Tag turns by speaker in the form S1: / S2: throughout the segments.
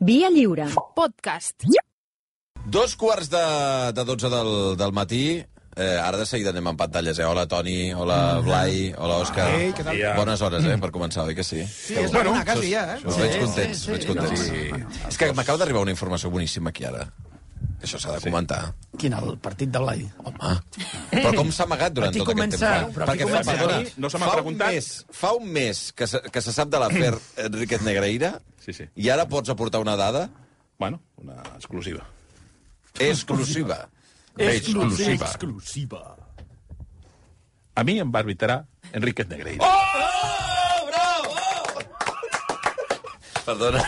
S1: Via Lliure.
S2: Podcast.
S3: Dos quarts de, de 12 del, del matí. Eh, ara de seguida anem en pantalles, eh? Hola, Toni, hola, Blai, hola, Òscar.
S4: Ei, què tal?
S3: Ja. Bones hores, eh, per començar, oi que sí? Sí,
S4: és la una, quasi, ja, eh?
S3: Us
S4: Sí,
S3: veig
S4: sí,
S3: contents,
S4: sí,
S3: us veig
S4: sí.
S3: contents. Sí. És que m'acaba d'arribar una informació boníssima aquí ara. Això s'ha de comentar.
S4: Quin, el partit de Blai? Home.
S3: Ah. Però com s'ha amagat durant
S4: Aquí
S3: tot aquest
S4: comença-
S3: temps? eh?
S4: però aquí
S3: Perquè,
S4: comença.
S3: perdona,
S5: A mi no se m'ha
S3: fa un
S5: preguntat.
S3: Mes, fa un mes que se, que se sap de l'afer Enriquet Negreira
S5: Sí, sí.
S3: i ara pots aportar una dada
S5: Bueno, una exclusiva.
S3: exclusiva.
S5: Exclusiva.
S4: Exclusiva.
S5: A mi em va arbitrar Enriquez Negreira.
S3: Perdona.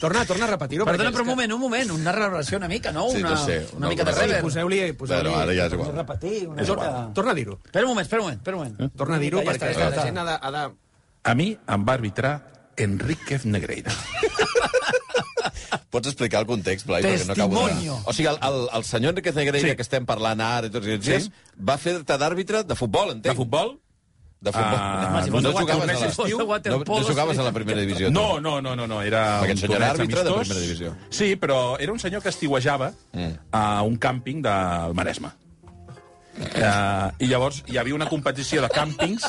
S4: Torna, torna a repetir-ho. perquè
S6: Perdona, però
S4: és
S6: un
S4: que-
S6: moment, un moment, una revelació una mica, no? Una,
S3: Sí, no sé,
S6: una,
S3: una
S6: mica de
S3: alguna
S6: rever.
S3: cosa.
S4: Poseu-li... poseu-li
S3: Bueno, ara ja és igual.
S4: Repetir una mica. Torna a dir-ho.
S6: Espera un moment, espera un moment, espera un moment.
S4: Torna a dir-ho,
S6: Ja
S4: perquè
S6: està, ja
S4: la
S6: està.
S4: gent ha de... Ha de...
S5: A mi em va arbitrar Enriquez Negreira.
S3: Pots explicar el context, Blai? perquè No acabo
S6: Testimonio.
S3: de... O sigui, el, el, el senyor Enriquez Negreira, sí.
S5: Sí.
S3: que estem parlant ara i tots aquests dies, va fer-te d'àrbitre de futbol, entenc.
S5: De futbol?
S3: De futbol.
S5: Ah,
S3: Ah,
S5: si
S3: no,
S5: fos
S3: no,
S5: de
S3: jugaves a
S5: waterpolo,
S3: la...
S5: si fos
S6: de
S3: no, no
S6: waterpolo,
S3: jugaves
S6: sí.
S3: a la primera divisió. tu.
S5: No, no, no, no, no. era
S3: Aquest
S5: un
S3: senyor
S5: torneig
S3: era àrbitre de
S5: amistós.
S3: primera divisió. Mm.
S5: Sí, però era un senyor que estiuejava a un càmping del Maresme. Uh, I llavors hi havia una competició de càmpings.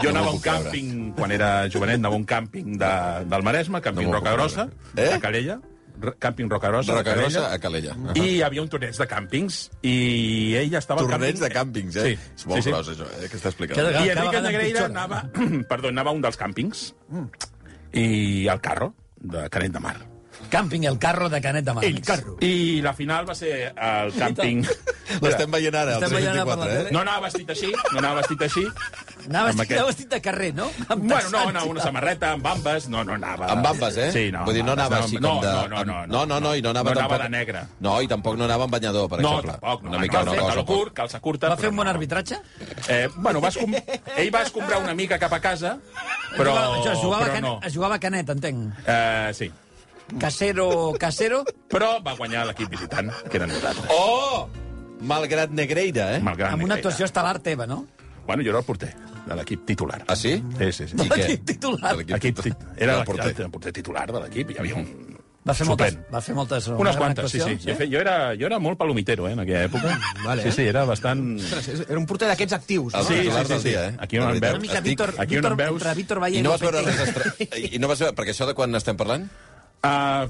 S5: Jo
S3: No m'ho
S5: anava a
S3: puc
S5: un
S3: creure.
S5: càmping, quan era jovenet, anava a un càmping de, del Maresme, càmping
S3: No m'ho puc
S5: Roca Grossa,
S3: creure. Eh?
S5: a Calella, R- càmping Roca Grossa,
S3: Roca Grossa
S5: a
S3: a Calella.
S5: Calella, i hi havia un torneig de càmpings, i ell estava... al
S3: Torneig de
S5: càmping-
S3: càmpings, eh?
S5: Sí,
S3: És molt
S5: sí, sí.
S3: gros, això, eh, que està explicant.
S6: Cada
S5: I
S6: vegada-
S5: Enrique
S6: cada vegada
S5: Negreira
S6: empitjora.
S5: anava, perdó, anava a un dels càmpings i al carro de Canet de Mar.
S6: Càmping el carro de Canet de Mar.
S4: El carro.
S5: I la final va ser al càmping...
S3: L'estem veient ara, el
S6: Estem veient ara per
S3: 324,
S6: la
S3: eh?
S6: tele.
S5: No anava vestit així, no anava vestit així.
S6: Anava
S5: Amb
S6: vestit,
S5: aquest-
S6: anava vestit de carrer, no? Amb
S5: Bueno, no,
S6: texans
S5: anava
S6: i
S5: una
S6: tal.
S5: samarreta, amb bambes, no, no anava...
S3: Amb bambes, eh?
S5: Sí, no.
S3: Vull dir, no
S5: amb
S3: anava
S5: bambes,
S3: així
S5: no,
S3: com de...
S5: No, no, no.
S3: no, no, no, i no anava,
S5: no anava
S3: tampoc...
S5: de negre.
S3: No, i tampoc no anava amb banyador, per
S5: No,
S3: exemple.
S5: tampoc, no.
S3: Una
S5: no,
S3: mica
S5: no,
S3: una
S5: calça
S3: cosa.
S5: curt, calça curta...
S6: Va fer un
S5: però
S6: bon
S5: no.
S6: arbitratge?
S5: Eh, bueno, vas com... ell va escombrar una mica cap a casa, però,
S6: Jugava- jo jugava,
S5: però
S6: Canet-
S5: no.
S6: es jugava Canet, entenc.
S5: Eh, sí.
S6: Casero, casero.
S5: Però va guanyar l'equip visitant, que eren nosaltres.
S3: Oh! Malgrat Negreira, eh?
S5: Malgrat
S6: amb una
S5: Negreira.
S6: actuació estel·lar teva, no?
S5: Bueno, jo era el porter de l'equip titular.
S3: Ah, sí?
S5: Sí, sí, sí.
S3: I què?
S6: L'equip titular.
S3: L'equip
S5: Equip
S3: titular.
S5: tit... Era
S3: el porter.
S5: el porter titular de l'equip. Hi havia un...
S6: Va fer moltes...
S5: suplent.
S6: Va fer moltes una
S5: Unes
S6: gran
S5: quantes, sí, sí.
S6: actuació, eh?
S5: Jo, fe- jo, era, jo era molt palomitero, eh, en aquella època.
S4: Vale.
S5: Sí, sí, era bastant...
S4: Ostres, és- Era un porter d'aquests actius.
S3: El
S4: No?
S5: Sí,
S3: titular
S5: sí, sí,
S3: del
S5: sí.
S3: dia, eh?
S5: Aquí on
S3: La
S5: em
S3: veritat.
S5: veus.
S6: Una mica
S3: Estic-
S6: Víctor,
S5: aquí on
S6: Víctor,
S5: em veus.
S6: entre Víctor Valle
S3: I no vas veure
S6: Lopete.
S3: res d'estrany. I no vas veure... Perquè això de quan estem parlant?
S5: Uh,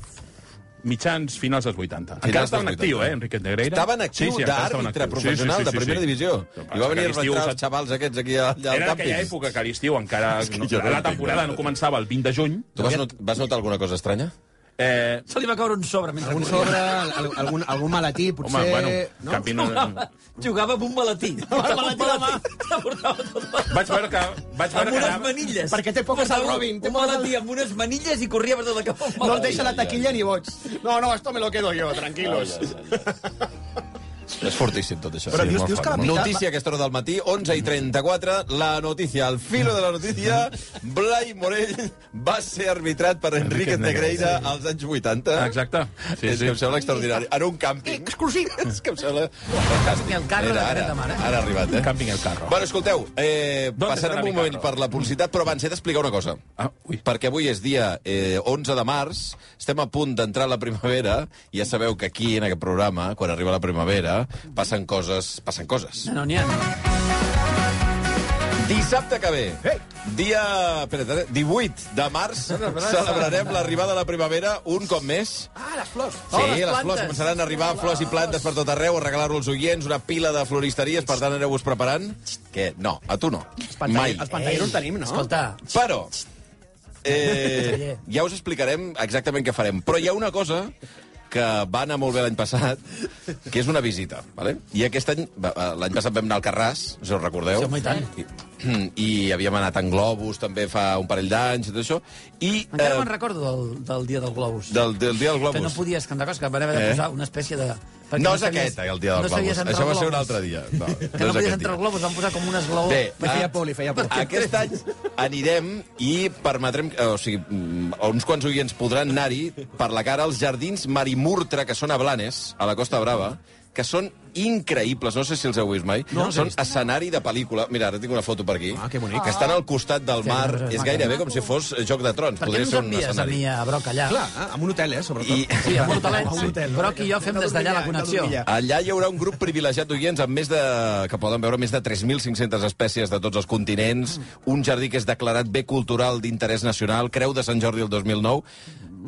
S5: mitjans, finals dels 80.
S3: Finals dels
S5: encara estava en
S3: 80.
S5: actiu, eh, Enriquet Negreira.
S3: Estava en actiu sí, sí,
S5: encara estava en
S3: d'àrbitre
S5: actiu.
S3: professional de primera divisió. I va venir a
S5: Aquell estiu
S3: arbitrar
S5: us-
S3: els xavals aquests aquí al, al
S5: Era
S3: càmping.
S5: aquella època que a l'estiu encara...
S3: que
S5: No,
S3: jo no
S5: la
S3: entenc, eh.
S5: temporada
S3: no.
S5: no començava el 20 de juny.
S3: Tu vas, not vas notar alguna cosa estranya?
S5: Eh,
S6: Se li va caure un sobre mentre
S4: Algun
S6: corria.
S4: sobre, al- algun, algun malatí, potser...
S5: Home, bueno,
S4: no?
S5: canvi no...
S6: Mm. Jugava amb un maletí. Portava un
S4: maletí a la mà.
S6: maletí, portava tot el-
S5: Vaig veure que... Vaig veure
S6: Amb
S5: que
S6: unes
S5: anava...
S6: manilles.
S4: Perquè té por que
S6: Portava
S4: se'l
S6: un-
S4: robin, té
S6: Un
S4: por que
S6: maletí amb unes manilles i corria per tot el cap. amb un
S4: No el
S6: maletí.
S4: deixa la taquilla ni boig. No, no, esto me lo quedo yo, tranquilos.
S3: És fortíssim tot això.
S4: Però dius-
S3: molt
S4: dius
S3: fort,
S4: que la
S3: molt.
S4: veritat-
S3: Notícia a aquesta hora del matí, 11 i 34, la notícia, al filo de la notícia, Blai Morell va ser arbitrat per Enriquet Negreira als anys 80.
S5: Exacte.
S3: Sí, eh? és sí. que em sembla extraordinari. En un càmping. Exclusiu. És que em sembla fantàstic.
S6: El carro de Canet de Mar,
S3: Ara,
S6: eh?
S3: ara ha arribat, eh?
S5: Càmping el carro.
S3: Bueno, escolteu, eh, passarem
S5: estarà
S3: un
S5: mi
S3: moment
S5: carro?
S3: per la publicitat, però abans he d'explicar una cosa.
S5: Ah, ui.
S3: Perquè avui és dia eh, 11 de març, estem a punt d'entrar a la primavera, i ja sabeu que aquí, en aquest programa, quan arriba la primavera, passen coses... Passen coses.
S6: No, no n'hi ha.
S3: Dissabte que ve, dia espera't, eh, 18 de març, celebrarem l'arribada de la primavera un cop més.
S4: Ah, les flors.
S3: Sí,
S6: Oh, les
S3: les, flors
S6: plantes.
S3: començaran a arribar, flors i plantes per tot arreu, a regalar-ho als oients, una pila de floristeries, per tant, aneu-vos preparant. Què? No, a tu no. Mai.
S4: Els pantalleros tenim, no?
S6: Escolta,
S3: Però... Eh, ja us explicarem exactament què farem. Però hi ha una cosa que va anar molt bé l'any passat, que és una visita. Vale? I aquest any, va, eh, l'any passat vam anar al Carràs, si us recordeu.
S6: Sí, home, i tant.
S3: I, i havíem anat en Globus també fa un parell d'anys i tot això. I,
S4: eh,
S3: eh,
S6: encara me'n recordo del, del dia del globus.
S3: del, del dia del Globus.
S6: Que no podies cantar coses, que van haver de
S3: Eh?
S6: posar una espècie de... perquè
S3: No és
S6: sabies-
S3: aquest, el dia del
S6: no
S3: globus.
S6: sabies entrar
S3: Això va
S6: al
S3: ser un
S6: globus.
S3: altre dia. No, no
S6: Que
S3: és
S6: no
S3: aquest
S6: podies entrar
S3: dia.
S6: al globus, van posar com un esglaó.
S3: Bé,
S4: Li
S3: Ah.
S4: feia por, li feia por.
S3: Aquest any anirem i permetrem... eh, O sigui, mm, uns quants oients podran anar-hi per la cara als jardins Marimurtra, que són a Blanes, a la Costa Brava, que són increïbles, no sé si els heu vist mai.
S1: No els he
S3: són
S1: vist.
S3: escenari de pel·lícula. Mira, ara tinc una foto per aquí.
S1: Ah, que bonic.
S3: Que estan al costat del
S6: Sí,
S3: mar.
S6: no, no,
S3: és
S6: maco.
S3: gairebé com si fos Joc de Trons.
S6: Per què no ens envies a mi a Broc allà?
S1: Clar, eh, amb un hotel, eh, sobretot.
S3: I-
S6: Sí, amb un hotelet.
S1: A un hotel, no?
S6: Broc i jo fem
S1: Hem de
S6: des d'allà la
S1: dormir allà, hem de
S6: connexió.
S1: dormir allà.
S3: Allà hi haurà un grup privilegiat d'oients amb més de... que poden veure més de 3.500 espècies de tots els continents, un jardí que és declarat bé cultural d'interès nacional, Creu de Sant Jordi el 2009,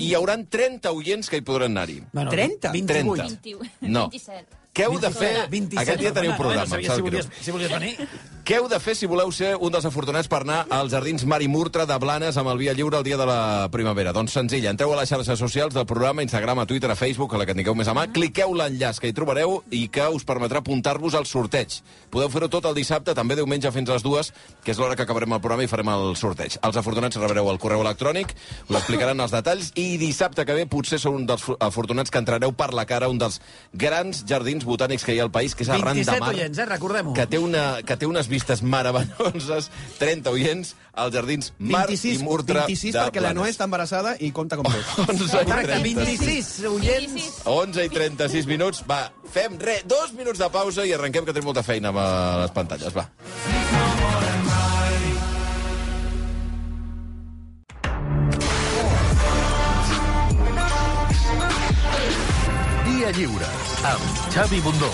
S3: i hi haurà 30 oients que hi podran anar-hi.
S6: Bueno,
S1: 30?
S6: 28.
S2: 21.
S3: No.
S2: 27.
S3: Què heu de fer...
S6: 27.
S3: Aquest dia teniu
S6: Bueno,
S3: programa, em
S6: sabies
S3: sap
S6: si,
S3: greu.
S6: volies, si volies venir?
S3: Què heu de fer si voleu ser un dels afortunats per anar als jardins Mari Murtra de Blanes amb el Via Lliure el dia de la primavera? Doncs senzill, entreu a les xarxes socials del programa, Instagram, a Twitter, a Facebook, a la que tingueu més a mà, cliqueu l'enllaç que hi trobareu i que us permetrà apuntar-vos al sorteig. Podeu fer-ho tot el dissabte, també diumenge fins a les dues, que és l'hora que acabarem el programa i farem el sorteig. Els afortunats rebreu el correu electrònic, us explicaran els detalls i dissabte que ve potser sou un dels fu- afortunats que entrareu per la cara a un dels grans jardins botànics que hi ha al país, que és arran de
S6: 27
S3: mar
S6: oients, eh? Recordem-ho.
S3: que té, una, que té unes vistes meravelloses, 30 oients, als jardins Mar
S1: 26,
S3: i Murtra
S1: 26
S3: de
S1: perquè la Noé
S3: Blanes. Oh,
S1: està embarassada i compta com tot.
S3: 11 i,
S6: Correcte,
S3: 30,
S6: 26 oients.
S2: 26.
S3: 11 i 36 minuts. Va, fem re, dos minuts de pausa i arrenquem, que tenim molta feina amb eh, les pantalles. Va.
S7: Dia Lliure, amb Xavi Bundó.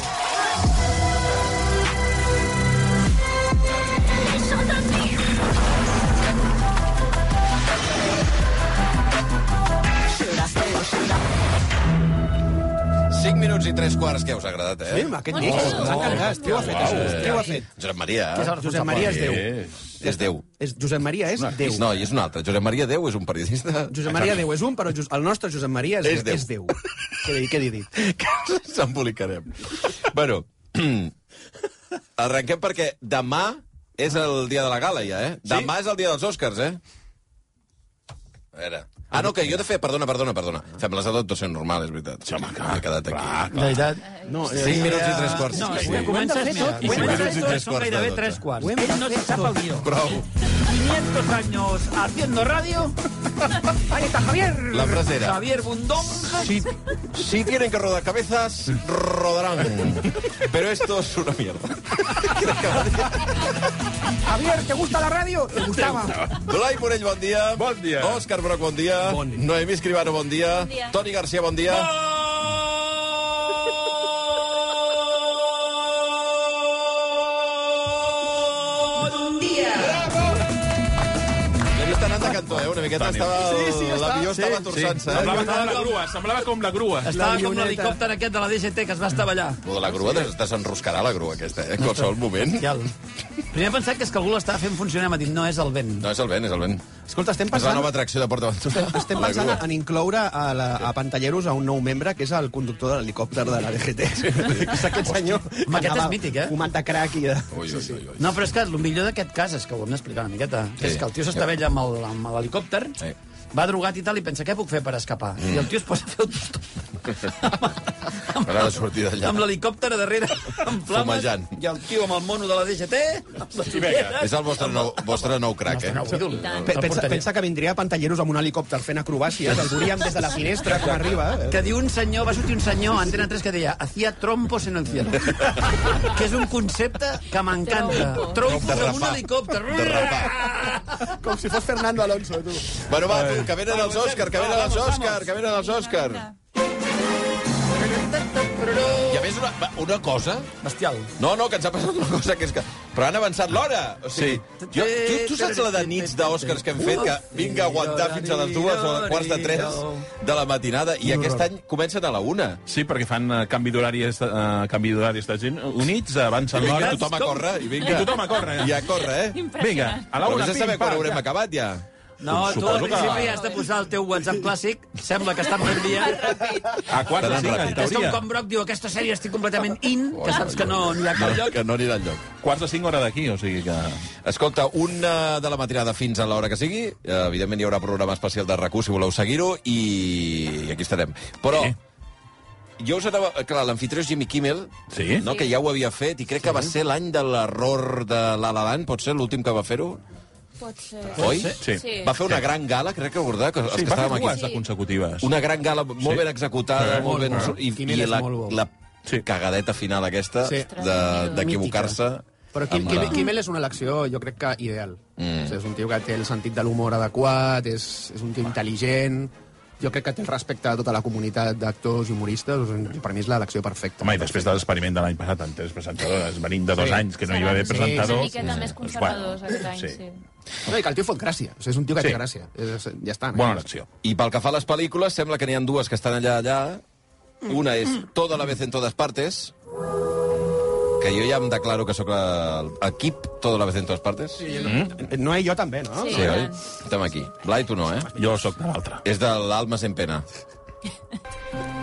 S3: Cinc minuts i tres quarts, que us ha agradat, eh?
S1: Sí, home, aquest disc, ens ha encantat. Qui ho ha fet, això? Qui ho ha fet?
S3: Josep Maria, eh?
S1: Josep Maria és Déu.
S3: És Déu.
S1: És, Josep Maria és Déu.
S3: No, i és un altre. Josep Maria Déu és un periodista...
S1: Josep Maria Déu és un, però Jus- el nostre Josep Maria
S3: És
S1: és,
S3: Déu.
S1: És Déu. Què dir, què dir? dit?
S3: que ens embolicarem. bueno, arrenquem perquè demà és el dia de la gala, ja, eh? Demà és el dia dels Oscars, eh? A veure... Ah, no, que jo he de fer... Perdona, perdona, perdona. Fem les adaptacions normals, és veritat. Sí, home, clar, He quedat aquí.
S5: Clar,
S6: De veritat.
S1: No, eh,
S3: 5 minuts i 3 quarts.
S6: No,
S3: Sí,
S6: sí. comença
S1: Ho hem de fer
S6: mira, i
S1: tot, ho hem
S3: de
S6: comença
S3: fer
S6: tot,
S3: tot.
S6: Són gairebé
S3: Ho hem de fer
S6: tres
S3: tot.
S6: quarts.
S1: Ho hem de
S6: Ell no se
S1: fer
S6: sap
S1: tot.
S6: el guió.
S3: Prou.
S6: 500 años haciendo radio. Ahí está Javier.
S3: La frasera.
S6: Javier Bundón.
S3: Si, si tienen que rodar cabezas, rodarán. Pero esto es una mierda.
S6: Javier, ¿te gusta la radio? Te gustaba.
S3: Blai Morell, bon dia.
S5: Bon dia.
S3: Òscar Broc, bon dia.
S1: Bon dia.
S3: Noemí Escribano, bon dia. Bon
S2: dia.
S3: Toni Garcia, bon dia. L'he vist anant de cantó, eh? Una miqueta estava...
S1: Sí, sí, està.
S3: L'avió estava
S1: Sí.
S3: torçant-se, eh?
S5: Semblava, com la grua, semblava com la grua.
S6: Estava com
S1: avioneta.
S6: l'helicòpter aquest de la DGT que es va estavellar.
S3: Lo de la grua des desenroscarà la grua aquesta, eh? En qualsevol moment.
S6: Ja el... Primer he pensat que és que algú l'estava fent funcionar, m'ha dit, no, és el vent.
S3: No, és el vent, és el vent.
S1: Escolta, estem
S3: És la
S1: pensant...
S3: nova atracció de PortAventura.
S1: Estem
S3: La
S1: pensant
S3: grua.
S1: en incloure a, la, a Pantalleros a un nou membre, que és el conductor de l'helicòpter de la DGT. és aquest senyor... que
S6: Home, aquest
S1: anava
S6: és mític, eh?
S1: Fumant de crack i de...
S3: Ui, ui, ui, ui.
S6: No, però és que el millor d'aquest cas és que ho hem d'explicar una miqueta.
S3: Sí.
S6: Sí. És que el tio s'estavella amb el- amb l'helicòpter,
S3: Sí.
S6: sí. va drogat i tal, i pensa, què puc fer per escapar? Mm. I el tio es posa a fer un tostó. Amb-
S3: Ara de sortir d'allà.
S6: Amb l'helicòpter a darrere, en flames,
S3: Fumejant.
S6: i el tio amb el mono de la DGT, amb les ulleres.
S3: És el vostre nou, vostre nou crac, eh?
S6: No, ídol.
S2: tant.
S1: Pe-
S6: El
S1: Pensa,
S6: portaria.
S1: pensa que vindria a Pantalleros amb un helicòpter fent acrobàcies, el veuríem des de la finestra com arriba. eh?
S6: que diu un senyor, va sortir un senyor a Antena 3 que deia hacía trompos en el cielo. que és un concepte que m'encanta.
S2: Trompo.
S6: Trompos amb un
S3: Derrapar.
S6: helicòpter.
S1: Com si fos Fernando Alonso, tu.
S3: Bueno, va, tu, que venen els Òscar, que venen els Òscar, que venen els Òscar. I a més, una, va, una cosa...
S6: Bestial.
S3: No, no, que ens ha passat una cosa, que és que... Però han avançat l'hora! O sigui, jo, tu, tu saps la de nits d'Òscars que hem fet, que vinga a aguantar fins a les dues o a quarts de tres de la matinada, i aquest any comencen a la una.
S5: Sí, perquè fan eh, canvi d'horari eh, canvi d'horari als Estats Units, units, avancen l'hora...
S3: Vinga, tothom a córrer, i vinga.
S5: I tothom a córrer, ja.
S3: I a córrer, eh?
S5: Vinga, a la
S3: Però
S5: una,
S3: vés a saber quan haurem
S5: ja.
S3: acabat, ja.
S6: No, tu al
S5: Suposo que-
S6: principi has de posar el teu WhatsApp clàssic. Sembla que està per dia.
S5: A quarts
S3: Tan
S5: de Ah, cinc,
S3: ràpid.
S6: Que
S5: en
S6: és com
S5: teoria.
S6: quan Brock diu aquesta sèrie estic completament in, que saps que no anirà a cap
S3: No,
S6: lloc.
S3: que no anirà enlloc.
S5: Quarts de cinc, hora d'aquí, o sigui que...
S3: Escolta, una de la matinada fins a l'hora que sigui. Eh, Evidentment hi haurà programa especial de RAC1 si voleu seguir-ho i... i aquí estarem. Però...
S5: Sí.
S3: Jo us anava... Clar, l'anfitrió és Jimmy Kimmel,
S5: Sí.
S3: no, que ja ho havia fet, i crec que va ser l'any de l'error de La La Land, pot ser l'últim que va fer-ho,
S2: Pot ser.
S3: oi?
S5: Sí.
S2: Sí.
S3: Va fer una gran gala, crec que recordar, que els
S5: Sí,
S3: que
S5: va fer
S3: estàvem
S5: dues
S3: aquí.
S5: de consecutives.
S3: Una gran gala molt
S5: Sí. Eh,
S3: ben executada, molt ben... I,
S6: Kimmel
S3: i
S6: és
S3: la,
S6: molt bo.
S3: la
S5: Sí.
S3: cagadeta final aquesta
S2: Sí.
S3: de- d'equivocar-se.
S2: Però Kim,
S3: amb
S2: Kim,
S3: la-
S2: Kimmel és una elecció, jo crec que ideal.
S3: Mm.
S2: Mm. O sigui, és un tio que té el sentit de l'humor adequat, és, és un tio intel·ligent, jo crec que té el respecte a tota la comunitat d'actors i humoristes, o sigui, per mi és l'elecció perfecta.
S5: Home, i després de l'experiment de l'any passat amb tres presentadores, venint de dos
S2: Sí.
S5: anys que no hi va haver
S2: Seran
S5: presentadors...
S2: una
S5: doncs,
S8: miqueta més
S5: bueno,
S8: conservadors aquest any, sí.
S2: No, i que el tio fot gràcia, o sigui, és un tio que
S5: Sí.
S2: sí. té gràcia. És, ja està.
S5: Bona elecció.
S3: I pel que fa a les pel·lícules, sembla que n'hi ha dues que estan allà, allà. Una és Toda la vez en todas partes, que jo ja em declaro que sóc el equip Toda la vez en todas partes. Sí,
S1: No, i jo també, no?
S8: Sí,
S3: sí oi?
S8: tant.
S3: Estem aquí. Blai, tu no, eh?
S5: Jo sóc de l'altra.
S3: És de l'Alma en pena.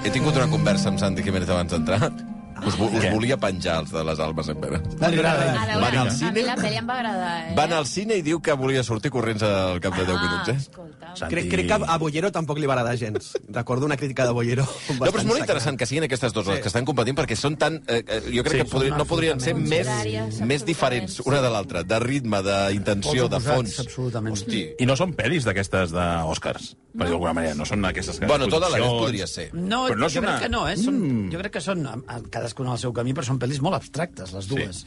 S3: He tingut una conversa amb Santi Jiménez abans d'entrar. Us, vo- us
S5: Què?
S3: volia penjar els de les Almes en pena.
S8: A veure,
S3: Van al
S8: a mi
S3: cine?
S8: la pel·li em va agradar, eh?
S3: Va anar al cine i diu que volia sortir corrents al cap de 10 minuts, eh?
S8: Ah, Escolta,
S5: Sant-
S1: Crec, crec que a Bollero tampoc li va agradar gens. Recordo una crítica de Bollero.
S3: No, però és molt interessant que siguin aquestes dues les que estan competint perquè són tan... Eh, eh, jo crec
S5: Sí,
S3: que podri, no podrien ser
S8: absolutament.
S3: més,
S8: Horàries,
S3: més diferents una de l'altra, de ritme, d'intenció,
S6: Pols
S3: de
S6: oposats,
S3: fons.
S6: absolutament.
S3: Hosti.
S5: I no són pel·lis d'aquestes d'Oscars, per dir d'alguna manera. No són aquestes... que-
S3: Bueno, tota la vez
S5: produccions.
S3: podria ser.
S6: No,
S5: Però no és
S6: jo
S5: una- Mm.
S6: crec que no, eh? Són, Jo crec que són, a- a- cadascuna al seu camí, però són pel·lis molt abstractes, les dues.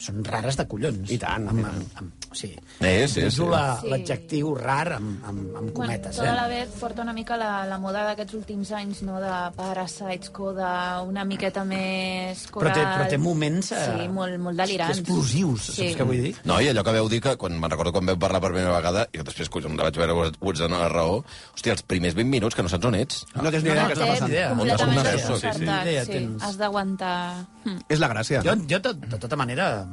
S6: Són rares de collons. I tant. Amb, amb, amb, o sigui,
S3: Eh, sí,
S6: uso
S3: sí.
S6: la-
S8: Sí.
S6: l'adjectiu rar amb, amb, amb cometes,
S8: bueno, tota
S6: eh?
S8: la vez porta una mica la, la moda d'aquests últims anys, no? De Parasites, Coda, una miqueta més
S6: Però
S8: coral...
S6: té- però té moments, eh,
S8: Sí, molt, molt delirants.
S6: Explosius, saps què vull dir?
S3: No, i allò que veu dir que, quan me'n recordo quan vam parlar per primera vegada, i després, cony, em la vaig veure, Woods en la raó, hòstia, els primers 20 minuts, que no saps on ets.
S1: No tens ni idea què està
S8: té
S1: passant.
S6: idea.
S8: Completament
S3: Una- una-
S8: desconcertat,
S6: sí, sí.
S8: sí.
S6: Tens-
S8: Has d'aguantar... Hm.
S1: És la gràcia.
S6: Jo, jo de, de tota manera,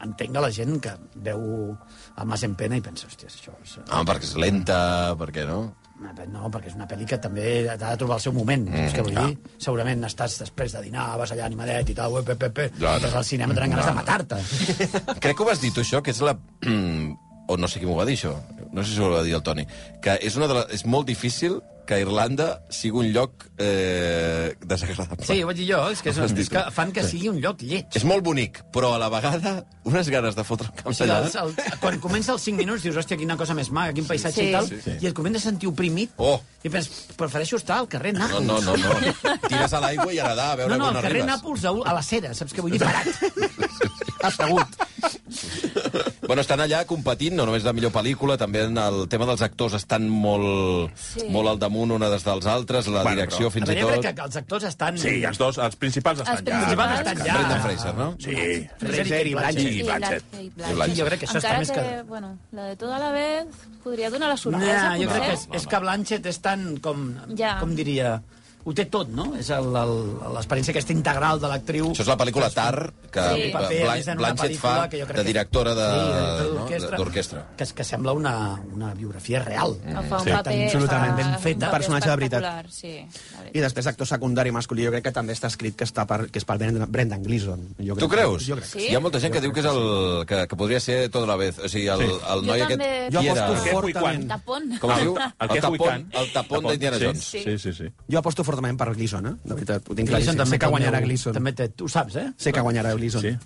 S6: entenc de la gent que veu el Mas en Pena i pensa, hòstia, això és...
S3: Ah, perquè és lenta, perquè no...
S6: Una pe- No, perquè és una pel·li que també ha de trobar el seu moment, mm, saps què vull dir? Segurament estàs després de dinar, vas allà animadet i tal, ep, ep, ep, ep,
S3: Clar.
S6: vas al cinema, tenen ganes de matar-te.
S3: Crec que ho vas dir tu, això, que és la... o no sé qui m'ho va dir, això. No sé si ho va dir el Toni. Que és, una de la... és molt difícil que Irlanda sigui un lloc eh, desagradable.
S6: Sí, ho vaig dir jo, és que, és,
S3: Ho has dit
S6: és que
S3: tu.
S6: fan que sigui un lloc lleig.
S3: És molt bonic, però a la vegada unes ganes de fotre el camp
S6: Sí,
S3: allà.
S6: el, el, quan comença els 5 minuts dius, hòstia, quina cosa més maca, quin paisatge
S8: Sí.
S6: i tal,
S8: Sí,
S6: sí. i et comences a sentir oprimit,
S3: Oh.
S6: i penses, prefereixo estar al carrer
S3: No,
S6: Nàpols.
S3: no, no, no. Tires a l'aigua i a nedar, a veure
S6: no, no
S3: quan
S6: al carrer
S3: arribes.
S6: Nàpols a, a la cera, saps què vull dir? Parat. Assegut.
S3: Bueno, estan allà competint, no només la millor pel·lícula, també en el tema dels actors estan molt, sí.
S8: Sí.
S3: molt al damunt una des dels altres, la
S5: Bueno,
S3: bueno, direcció
S5: però-
S3: fins
S6: a
S3: i
S6: veure, jo
S3: tot...
S6: crec que els actors estan...
S5: Sí, els dos, els principals estan
S8: Els principals
S5: ja.
S6: estan ja.
S3: Brendan Fraser, no?
S5: Sí.
S6: Fraser i Blanchett.
S5: I Blanchett.
S8: I
S3: Blanchett.
S6: Sí, jo crec que això està
S8: Encara
S6: més
S8: que,
S6: que-
S8: bueno, la de tota la vez podria donar la
S6: No,
S8: sorpresa,
S6: jo crec que és,
S8: potser.
S6: és que Blanchett és tan com...
S8: Ja.
S6: Com diria... Ho té tot, no? És el- el- l'experiència aquesta integral de l'actriu.
S3: Això és la pel·lícula Tar, que
S8: Sí.
S3: Bla-
S6: Paper, a més, en una
S3: Blanchett fa
S6: pel·lícula que jo crec
S3: de
S6: que-
S3: directora de-
S6: Sí, directora
S3: no?
S6: d'orquestra.
S3: de- d'orquestra.
S6: Que, és- que sembla una, una biografia real.
S8: Que fa un
S5: Sí.
S8: paper...
S6: Absolutament
S8: fa
S6: ben
S8: un
S6: feta.
S8: paper
S1: Personatge de veritat.
S8: espectacular, Sí, la
S1: I
S8: veritat.
S1: després actor secundari masculí, jo crec que també està escrit que, està per, que és per Brendan, Brendan Gleeson. Jo crec,
S3: Tu creus?
S1: Jo crec.
S8: Sí.
S3: Hi ha molta gent que diu que, és el, que, que podria ser tota la vez. O sigui, el, el
S8: Jo
S3: noi
S8: també-
S3: aquest...
S1: Jo
S3: qui era?
S1: aposto
S5: Jeff
S1: fortament...
S8: Tapón.
S3: Com es diu?
S5: El, que
S3: tapón, el tapón d'Indiana Jones.
S5: Sí, sí, sí. sí.
S1: Jo aposto fortament per Gleeson, eh? De veritat, ho tinc
S6: Gleason
S1: claríssim. Sé que guanyarà
S6: també-
S1: Gleeson.
S6: També té, tu ho saps, eh?
S1: Sé que guanyarà Gleason.
S5: sí.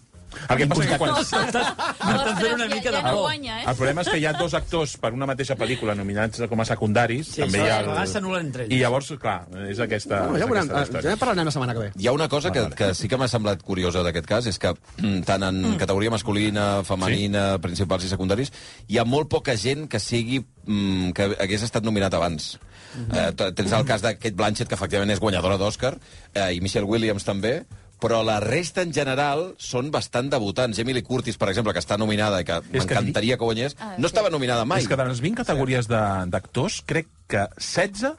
S5: El que passa que quan...
S6: M'estan fent una mica
S8: ja,
S6: de
S8: ja no
S6: por.
S8: guanya, eh?
S5: El problema és que hi ha dos actors per una mateixa pel·lícula nominats com a secundaris.
S6: Sí,
S5: també
S6: això
S5: hi ha
S6: a vegades s'anul·len entre ells.
S5: I llavors, clar, és aquesta,
S1: Bueno, ja,
S5: és Ah, aquesta la
S1: veurem, eh, ja
S5: història.
S1: en parlarem la setmana que ve.
S3: Hi ha una cosa que, que sí que m'ha semblat curiosa d'aquest cas, és que mm, tant en categoria masculina, femenina, principals i secundaris, hi ha molt poca gent que sigui mm, que hagués estat nominat abans. Eh, t- tens el cas d'aquest Blanchett, que efectivament és guanyadora d'Oscar, eh, i Michelle Williams també, però la resta en general són bastant debutants. Emily Curtis, per exemple, que està nominada i que
S5: És que-
S3: m'encantaria que guanyés,
S8: Ah,
S3: no
S8: sí.
S3: estava nominada mai.
S5: És que de les 20 categories de- d'actors, crec que 16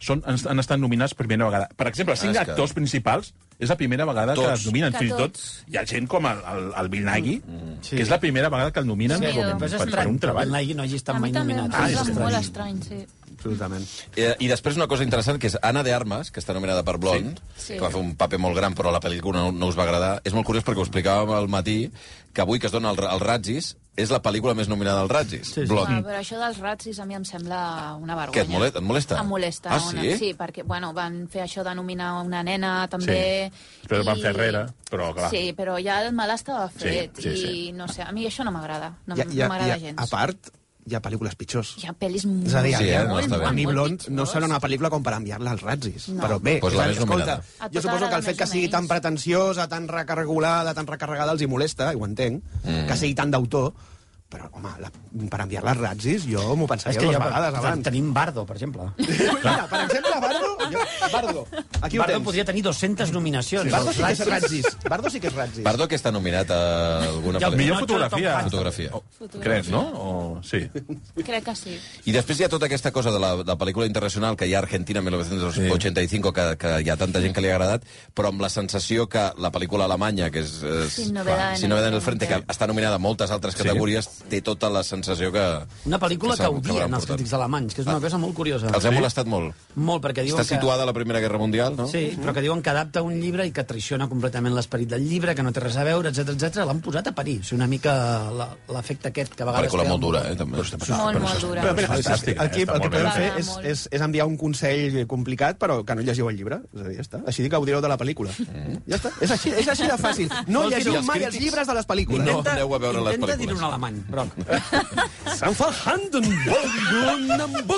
S5: són, han, han estat nominats per primera vegada. Per exemple, els 5
S3: Ah, és que-
S5: actors principals és la primera vegada que
S3: Tots. Mm,
S5: els nominen.
S8: Que
S5: Fins i tot
S8: tots.
S5: hi ha gent com el, el, el Bill Nagui,
S6: Sí.
S5: que és la primera vegada que el nominen
S8: Sí,
S5: com,
S8: però
S5: per,
S6: Però és
S5: per
S6: estrany
S5: un
S6: que el
S5: treball.
S6: Nagui no hagi estat
S8: A mi
S6: mai
S8: també em
S6: nominat. eh?
S8: sembla
S6: és
S5: Ah,
S8: molt
S6: estrany.
S8: estrany, sí.
S1: Absolutament.
S3: Eh, I després una cosa interessant, que és Anna de Armas, que està nominada per Blond, sí.
S8: Sí.
S3: que va fer un paper molt gran, però la pel·lícula no, no us va agradar. És molt curiós perquè ho explicàvem al matí, que avui que es dona el, el Ratzis, és la pel·lícula més nominada al Ratzis, sí, Ah,
S6: sí.
S3: sí.
S8: Home,
S3: Blond.
S8: però això dels ratzis a mi em sembla una vergonya.
S3: Què, et molesta- et molesta?
S8: Em molesta.
S3: Ah, sí?
S8: Una... Sí, perquè, bueno, van fer això de nominar una nena, també...
S5: Sí. Però van fer herrere, però, clar.
S8: Sí, però ja el mal estava fet.
S5: Sí, sí, sí.
S8: I, no sé, a mi això no m'agrada. No,
S1: I,
S8: ja,
S1: i,
S8: ja, no m'agrada
S1: i,
S8: gens.
S1: a part, hi ha pel·lícules pitjors.
S8: Hi ha pel·lis molt...
S1: És a dir,
S3: Sí, eh? No,
S8: molt,
S3: està bé.
S8: molt,
S1: a mi
S8: molt
S1: Blond no
S8: pitjors.
S1: serà una pel·lícula com per enviar-la als ratzis.
S8: No.
S1: Però bé,
S3: Pues
S1: és
S3: la
S1: a dir,
S3: més
S1: escolta,
S3: nominada.
S8: A
S1: jo
S8: tota
S1: suposo
S8: hora,
S1: que el fet
S8: més
S1: que
S8: o
S1: sigui tan
S8: menys.
S1: pretensiosa, tan recargolada, tan recarregada, els hi molesta, i ho entenc, mm. que sigui tan d'autor, però, home, la, per enviar-la als ratzis jo m'ho
S6: És
S1: pensaria
S6: que
S1: dues
S6: ja
S1: vegades abans.
S6: tenim Bardo, per exemple.
S1: Mira, per exemple, Bardo... Jo, Bardo, aquí ho
S6: Bardo
S1: tens.
S6: podria tenir 200 nominacions.
S1: Bardo sí que és ratzis. Bardo sí que és ratzis.
S3: Perdó que està nominat a alguna
S6: I el
S5: Millor
S6: Pinocho,
S5: fotografia.
S6: Tom Hanks.
S3: fotografia.
S5: Crec, no? O... Sí.
S8: Crec que sí.
S3: I després hi ha tota aquesta cosa de la, de la pel·lícula internacional que hi ha a Argentina 1985, que, que hi ha tanta gent que li ha agradat, però amb la sensació que la pel·lícula alemanya, que és... és
S8: Sin novedad en
S3: Sin novedad en el
S8: el
S3: frente, que
S8: frente.
S3: està nominada a moltes altres categories, té tota la sensació que...
S6: Una pel·lícula que
S3: s'ha- l'hauran
S6: odien els
S3: portat.
S6: crítics alemanys, que és una cosa molt curiosa.
S3: Els ha molestat molt.
S6: Molt, perquè diuen
S3: Està situada a la Primera Guerra Mundial, no?
S6: que... Sí, però que diuen que adapta un llibre i que traiciona completament l'esperit del llibre, que no té res a veure, etc etc. l'han posat a parir. És una mica la- l'efecte aquest que a vegades...
S3: Pel·lícula
S6: queda
S3: molt dura, eh, també.
S8: Molt, molt dura.
S1: Però, mira,
S5: Fantàstic, eh?
S1: el que,
S5: Està
S1: el
S5: molt
S1: que podem
S8: bé.
S1: fer
S8: M'agrada
S1: és,
S8: molt.
S1: és, és enviar un consell complicat, però que no llegiu el llibre. És a dir, ja està. Així gaudireu de la pel·lícula. Ja està. És així, és així de fàcil. No
S3: Vols dir-ho
S1: llegiu
S3: als
S1: mai
S3: crítics?
S1: els llibres de les pel·lícules.
S3: No aneu a veure les
S6: Intenta dir-ho
S3: pel·lícules.
S6: en alemany, Broc.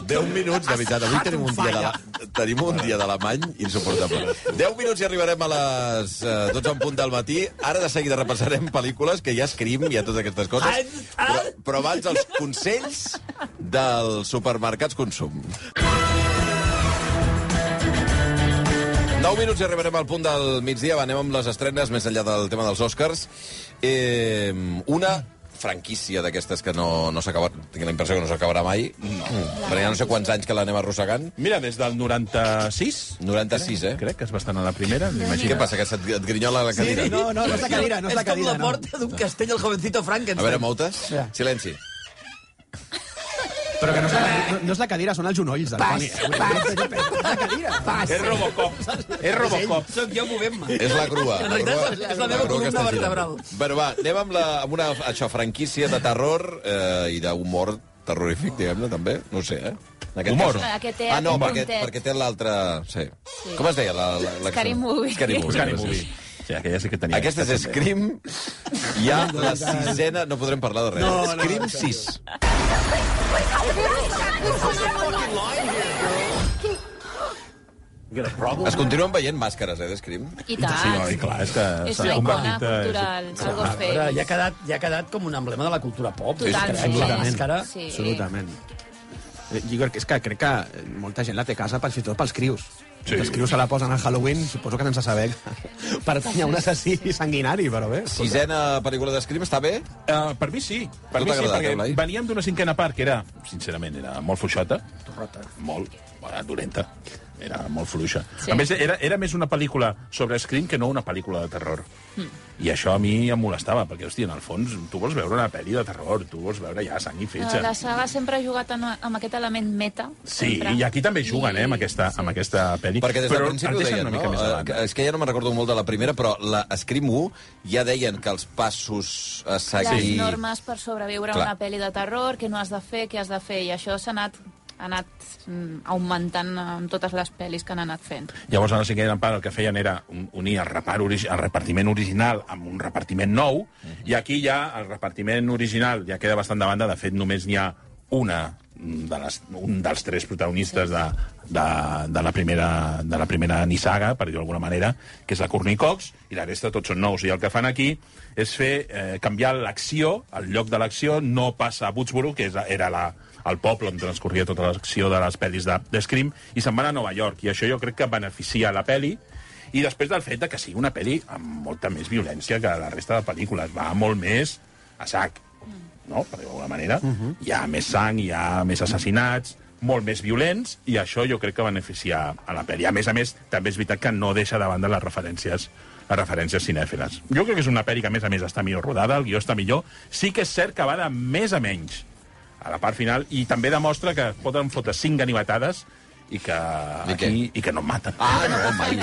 S3: Deu minuts, de veritat. Avui tenim un dia de tenim un dia d'alemany insuportable. 10 minuts i arribarem a les eh, 12 en punt del matí. Ara de seguida repassarem pel·lícules, que hi ha Scream, hi ha totes aquestes coses. Però, però abans els consells dels supermercats consum. 9 minuts i arribarem al punt del migdia. Va, anem amb les estrenes, més enllà del tema dels Oscars. Eh, una franquícia d'aquestes que no, no s'acaba... Tinc la impressió que no s'acabarà mai. No. Però ja no sé quants anys que l'anem arrossegant.
S5: Mira, des del 96...
S3: 96, eh?
S5: Crec que es va estar a la primera,
S3: Què
S5: m'imagino.
S3: passa, que se't et grinyola la cadira?
S1: No, no, no és la cadira, no és la cadira. No.
S6: d'un castell, el jovencito
S3: A
S6: Frankenstein.
S3: veure, moutes.
S6: Ja.
S3: Silenci.
S1: Però que no és la cadira, no, no és la cadira són els genolls. Del Toni.
S5: És Robocop. És Robocop.
S6: Soc jo movent-me.
S3: És la grua.
S6: En realitat
S3: grua-
S6: és la- és la
S3: grua
S6: meva
S3: que
S6: columna
S3: està girant.
S6: vertebral.
S3: Bueno, va, anem amb, la, amb una això, franquícia de terror eh, i d'humor terrorífic, diguem-ne, també. No ho sé, eh? En aquest
S5: Humor.
S3: cas-
S8: La que té
S3: ah, no,
S8: aquest
S3: perquè,
S8: puntet.
S3: perquè té l'altre... Sí.
S8: Sí.
S3: Com es deia? La, la, la...
S8: Scary Movie.
S3: Scary Movie.
S5: Buscant i
S3: sí.
S5: movie. Sí, aquella sí que tenia.
S3: Aquesta és Scream. Hi ha la sisena... No podrem parlar de res.
S1: No, no,
S3: Scream 6.
S1: no.
S3: Es continuen veient màscares, eh, de Scream?
S8: I tant.
S5: Sí, oi, clar, és que
S8: És
S5: s'ha
S8: una icona
S5: convertit, eh,
S8: cultural, el
S6: Però ja ha
S8: Ghostface.
S6: quedat, ja ha quedat com un emblema de la cultura pop.
S8: Totalment.
S6: És que la màscara...
S8: Sí.
S1: Absolutament. Eh, Jo crec, és que crec que molta gent la té a casa, fins i tot pels crios. Sí. Els crios se la posen a Halloween, suposo que sense saber que pertany a un assassí sanguinari, però bé.
S3: Sisena pel·lícula de Scream, està bé?
S5: Uh, per mi sí, per
S3: No
S5: mi
S3: t'ha
S5: sí,
S3: agradat,
S5: perquè
S3: Eloi?
S5: veníem d'una cinquena part que era, sincerament, era molt fluixota. Torrota. Molt, era dolenta. Era molt fluixa.
S8: Sí.
S5: Sí. A més, era, era més una pel·lícula sobre Scream que no una pel·lícula de terror.
S8: Hmm.
S5: Mm. I això a mi em molestava, perquè, hòstia, en el fons, tu vols veure una pel·li de terror, tu vols veure ja sang i
S8: Eh,
S5: fetge.
S8: La saga sempre ha jugat en, amb aquest element meta.
S5: Sí,
S8: sempre.
S5: i aquí també juguen, eh, amb aquesta,
S8: Sí.
S5: amb aquesta pel·li.
S3: Perquè des del
S5: però
S3: principi
S5: el
S3: ho
S5: deixen
S3: deien,
S5: una
S3: no?
S5: mica més
S3: Eh,
S5: avant.
S3: que- és que ja no me'n recordo molt de la primera, però la Scream 1 ja deien que els passos a
S8: Les
S3: seguir...
S8: normes per sobreviure
S3: Clar.
S8: a una pel·li de terror, què no has de fer, què has de fer, i això s'ha anat, ha anat mm, augmentant amb totes les pel·lis que han anat fent.
S5: Llavors, en la cinquena part, el que feien era un- unir el, repar, origi- el repartiment original amb un repartiment nou,
S3: Mhm.
S5: i aquí ja el repartiment original ja queda bastant de banda. De fet, només n'hi ha una mm, de les, un dels tres protagonistes de, de, de, la primera, de la primera nissaga, per dir-ho d'alguna manera, que és la Courtney Cox, i la resta tots són nous. I el que fan aquí és fer eh, canviar l'acció, el lloc de l'acció no passa a Woodsboro, que és, la- era la, al poble on transcorria tota l'acció de les pel·lis de, de Scream, i se'n van a Nova York. I això jo crec que beneficia la pel·li, i després del fet de que sigui una pel·li amb molta més violència que la resta de pel·lícules. Va molt més a sac, no? per dir d'alguna manera. Hi ha més sang, hi ha més assassinats, molt més violents, i això jo crec que beneficia a la pel·li. A més a més, també és veritat que no deixa de banda les referències les referències cinèfiles. Jo crec que és una pel·li que, a més a més, està millor rodada, el guió està millor. Sí que és cert que va de més a menys a la part final i també demostra que es poden fotre cinc ganivetades i que,
S3: I què?
S5: aquí, i que no em maten.
S3: Ah, no, mai.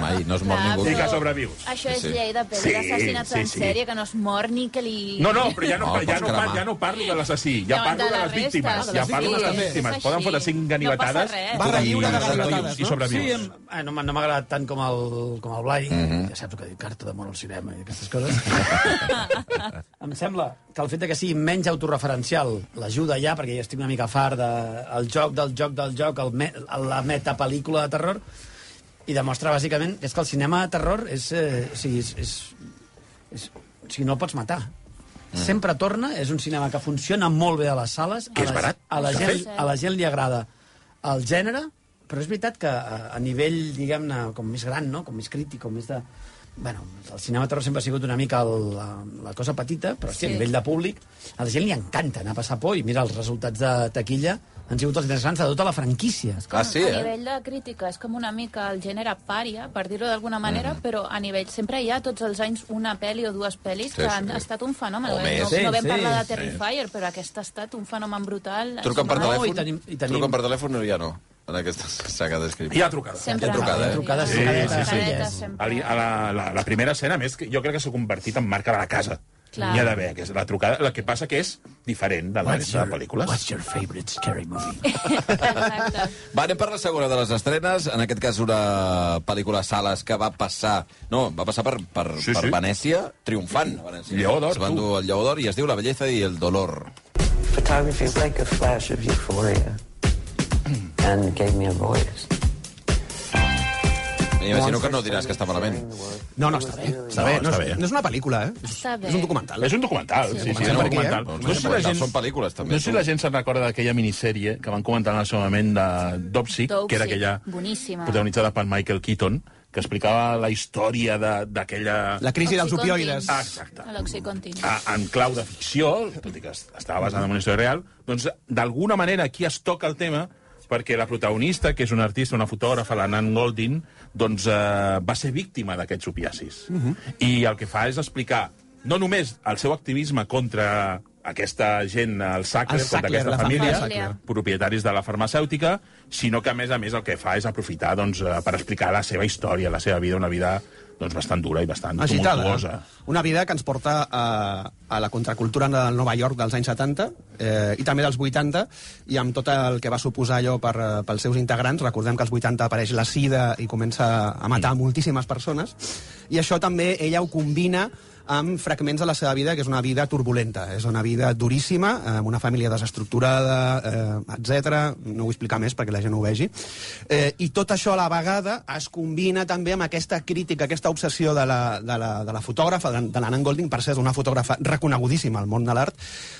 S3: Mai, no es mor
S8: Clar,
S3: ningú.
S5: I que sobrevius.
S8: Això és
S3: Sí, sí.
S8: llei de pel·li
S5: Sí,
S8: d'assassinats
S5: sí,
S8: en
S5: sí.
S8: sèrie, que no es mor ni que li...
S5: No, no, però ja no,
S3: No,
S5: ja,
S3: pots
S5: no, par-
S3: cremar.
S5: ja no parlo de l'assassí, ja
S8: Davant
S5: parlo
S8: de
S5: de
S8: la
S5: les
S8: resta,
S5: víctimes.
S8: de
S5: Ja
S8: les
S5: parlo de les
S8: víctimes.
S5: víctimes.
S8: És
S5: Poden fotre
S8: així.
S5: cinc
S8: No
S5: ganivetades
S8: passa res.
S1: Barra
S3: Tothom
S1: lliure de
S3: lliure, tothom
S1: ganivetades,
S5: i
S1: no?
S6: Sí,
S5: sobrevius.
S6: em, eh, no m'ha no m'ha agradat tant com el, com el Blai, mm
S5: Mhm.
S6: -hmm. ja saps que dic carta d'amor al cinema i aquestes coses. em sembla que el fet de que sigui menys autoreferencial l'ajuda ja, perquè ja estic una mica fart del de, el joc del joc del joc, el me, la metapel·lícula de terror, i demostra bàsicament que és que el cinema de terror és... Eh, o sigui, és, és, és o sigui, no el pots matar. Sempre torna, és un cinema que funciona molt bé a les sales.
S5: Mhm. Que és
S6: a la-
S5: barat.
S6: A la,
S5: Està
S6: gent,
S8: fet.
S6: a la gent li agrada el gènere, però és veritat que eh, a, a nivell, diguem-ne, com més gran, no? com més crític, com més de... Bueno, el cinema de terror sempre ha sigut una mica el, la, la cosa petita, però sí. a
S8: Sí.
S6: nivell de públic a la gent li encanta anar a passar por i mira, els resultats de taquilla han sigut els interessants de tota la franquícia.
S3: Ah, sí,
S8: a
S3: eh?
S8: nivell de crítica és com una mica el gènere pària, per dir-ho d'alguna manera, mm. però a nivell... Sempre hi ha tots els anys una pel·li o dues pel·lis
S3: Sí,
S8: que
S3: sí.
S8: han estat un fenomen.
S3: O
S8: no,
S3: més.
S8: no,
S6: Sí,
S8: no vam
S6: sí.
S8: parlar de Terrifier, però aquest ha estat un fenomen brutal.
S3: Truquen per
S8: No,
S6: telèfon.
S3: telèfon?
S6: i tenim- i tenim-
S3: Truquen per telèfon o ja no? En aquesta saga d'escriure.
S5: Hi ha trucades.
S8: Sempre.
S3: Hi ha trucada, eh?
S6: Trucades,
S5: Sí,
S6: trucades,
S5: sí, sí.
S8: trucades,
S6: sí.
S5: A
S8: sempre.
S5: la, a la, la primera escena, a més, que jo crec que s'ha convertit en marca de la casa.
S8: Clar.
S5: Hi ha d'haver, que és la trucada. El que passa que és diferent de la resta de pel·lícules.
S6: what's your favorite scary movie?
S8: Exacte.
S3: Va, anem per la segona de les estrenes. En aquest cas, una pel·lícula a sales que va passar... No, va passar per, per,
S5: Sí,
S3: per
S5: sí.
S3: Venècia, triomfant. a Venècia.
S5: Lleó d'or,
S3: Es van
S5: tu.
S3: dur el Lleó d'or i es diu La belleza i el dolor.
S9: Photography is like a flash of euphoria and gave me a voice.
S3: M'imagino que no diràs que està malament.
S1: No, no, està bé. Està
S5: No,
S1: bé. No,
S5: està
S1: és,
S5: bé.
S1: no és una pel·lícula, eh? És,
S8: Està bé.
S1: és un documental.
S5: És un documental, sí, sí, sí, és un
S1: per aquí,
S5: documental.
S3: eh?
S5: No sé si la gent...
S3: Són pel·lícules, també.
S5: No sé si la gent se'n recorda d'aquella minissèrie que van comentar en el seu moment de Dopsy,
S8: Dopsy,
S5: que era aquella
S8: boníssima.
S5: protagonitzada per Michael Keaton, que explicava la història de- d'aquella...
S1: La crisi dels opioides.
S5: Ah, exacte.
S8: L'oxicontin.
S5: a, en clau de ficció, tot i que es- estava basada en una història real, doncs d'alguna manera aquí es toca el tema perquè la protagonista, que és una artista, una fotògrafa, la Nan Goldin, doncs eh, va ser víctima d'aquests opiacis.
S1: Mhm.
S5: I el que fa és explicar no només el seu activisme contra aquesta gent, el Sackler,
S1: El
S5: contra
S1: Sackler,
S5: aquesta
S1: la
S5: família,
S1: família
S8: Sackler.
S5: propietaris de la farmacèutica, sinó que, a més a més, el que fa és aprofitar doncs, eh, per explicar la seva història, la seva vida, una vida doncs, bastant dura i bastant tumultuosa.
S1: Agitada. Una vida que ens porta a, a la contracultura de Nova York dels anys 70 eh, i també dels 80 i amb tot el que va suposar allò per, eh, pels seus integrants. Recordem que als 80 apareix la sida i comença a matar
S5: Mm.
S1: moltíssimes persones i això també ella ho combina amb fragments de la seva vida, que és una vida turbulenta. És una vida duríssima, eh, amb una família desestructurada, eh, etc. No ho vull explicar més perquè la gent ho vegi. Eh, I tot això a la vegada es combina també amb aquesta crítica, aquesta obsessió de la, de la, de la fotògrafa, de, de l'Anna Golding, per ser una fotògrafa reconegudíssima al món de l'art,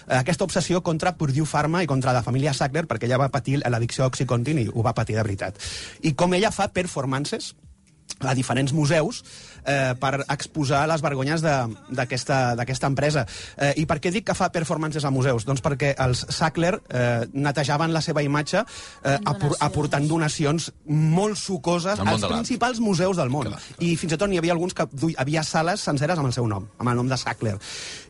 S1: eh, aquesta obsessió contra Purdue Pharma i contra la família Sackler, perquè ella va patir l'addicció a Oxycontin i ho va patir de veritat. I com ella fa performances a diferents museus eh, per exposar les vergonyes de- d'aquesta d'aquesta empresa. Eh, I per què dic que fa performances a museus? Doncs perquè els Sackler eh, netejaven la seva imatge eh, apor
S8: Donacions.
S1: aportant donacions molt sucoses
S3: Al món
S1: als
S3: de l'art.
S1: principals museus del món.
S3: Clar,
S1: I fins i tot n'hi havia alguns que du- hi havia sales senceres amb el seu nom, amb el nom de Sackler.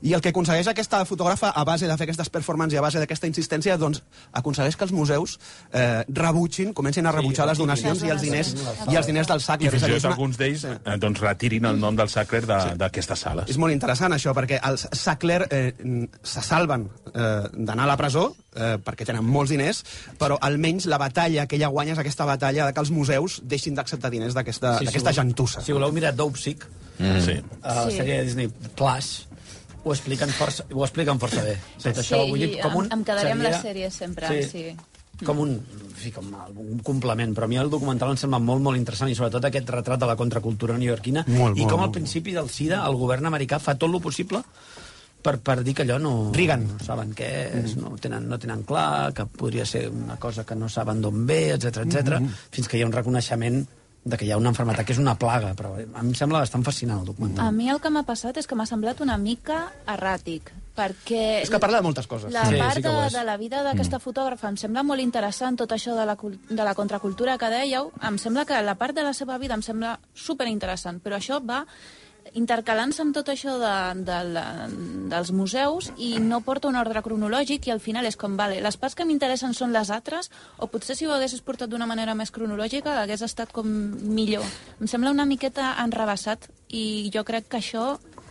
S1: I el que aconsegueix aquesta fotògrafa a base de fer aquestes performances i a base d'aquesta insistència, doncs aconsegueix que els museus eh, rebutgin, comencin a rebutjar les donacions i els diners i els diners del
S5: I
S1: Sackler.
S5: fins
S1: És a
S5: i
S1: dir, és
S5: tot
S1: una-
S5: alguns d'ells eh, doncs, retirin el nom del Sacrer de- d'aquestes sales.
S1: És molt interessant, això, perquè els Sackler eh, se salven eh, d'anar a la presó, eh, perquè tenen molts diners, però almenys la batalla que ella guanya és aquesta batalla de que els museus deixin d'acceptar diners d'aquesta sí,
S6: voleu-
S1: gentussa.
S6: Si voleu mirar Dopesick,
S5: Mm. Sí.
S6: a la
S8: Sí.
S6: sèrie de Disney Plus, ho expliquen força, ho expliquen força bé. Tot això,
S8: Sí,
S6: vull dir, com un,
S8: em- em quedaré amb la sèrie sempre, sí.
S6: Com un, en fi, com un complement, però a mi el documental em sembla molt, molt interessant i sobretot aquest retrat de la contracultura neoyorquina
S1: Molt,
S6: i
S1: molt,
S6: com al
S1: molt.
S6: principi del SIDA el govern americà fa tot lo possible per, per dir que allò no,
S1: Reagan. Mm.
S6: no saben què és, no, ho tenen, no tenen clar, que podria ser una cosa que no saben d'on ve, etc etc.
S1: Mm-hmm.
S6: fins que hi ha un reconeixement de que hi ha una malaltia que és una plaga, però a mi em sembla bastant fascinant el documental.
S8: A mi el que m'ha passat és que m'ha semblat una mica erràtic, perquè...
S1: És que parla de moltes coses.
S8: La
S6: Sí,
S8: sí,
S6: sí
S8: part
S6: que
S8: sí
S6: ho
S8: de,
S6: és. Mm.
S8: de la vida d'aquesta fotògrafa em sembla molt interessant, tot això de la, cul- de la contracultura que dèieu. Em sembla que la part de la seva vida em sembla superinteressant, però això va intercalant-se amb tot això de, de la, dels museus i no porta un ordre cronològic i al final és com, vale, les parts que m'interessen són les altres o potser si ho haguessis portat d'una manera més cronològica hagués estat com millor. Em sembla una miqueta enrebaçat i jo crec que això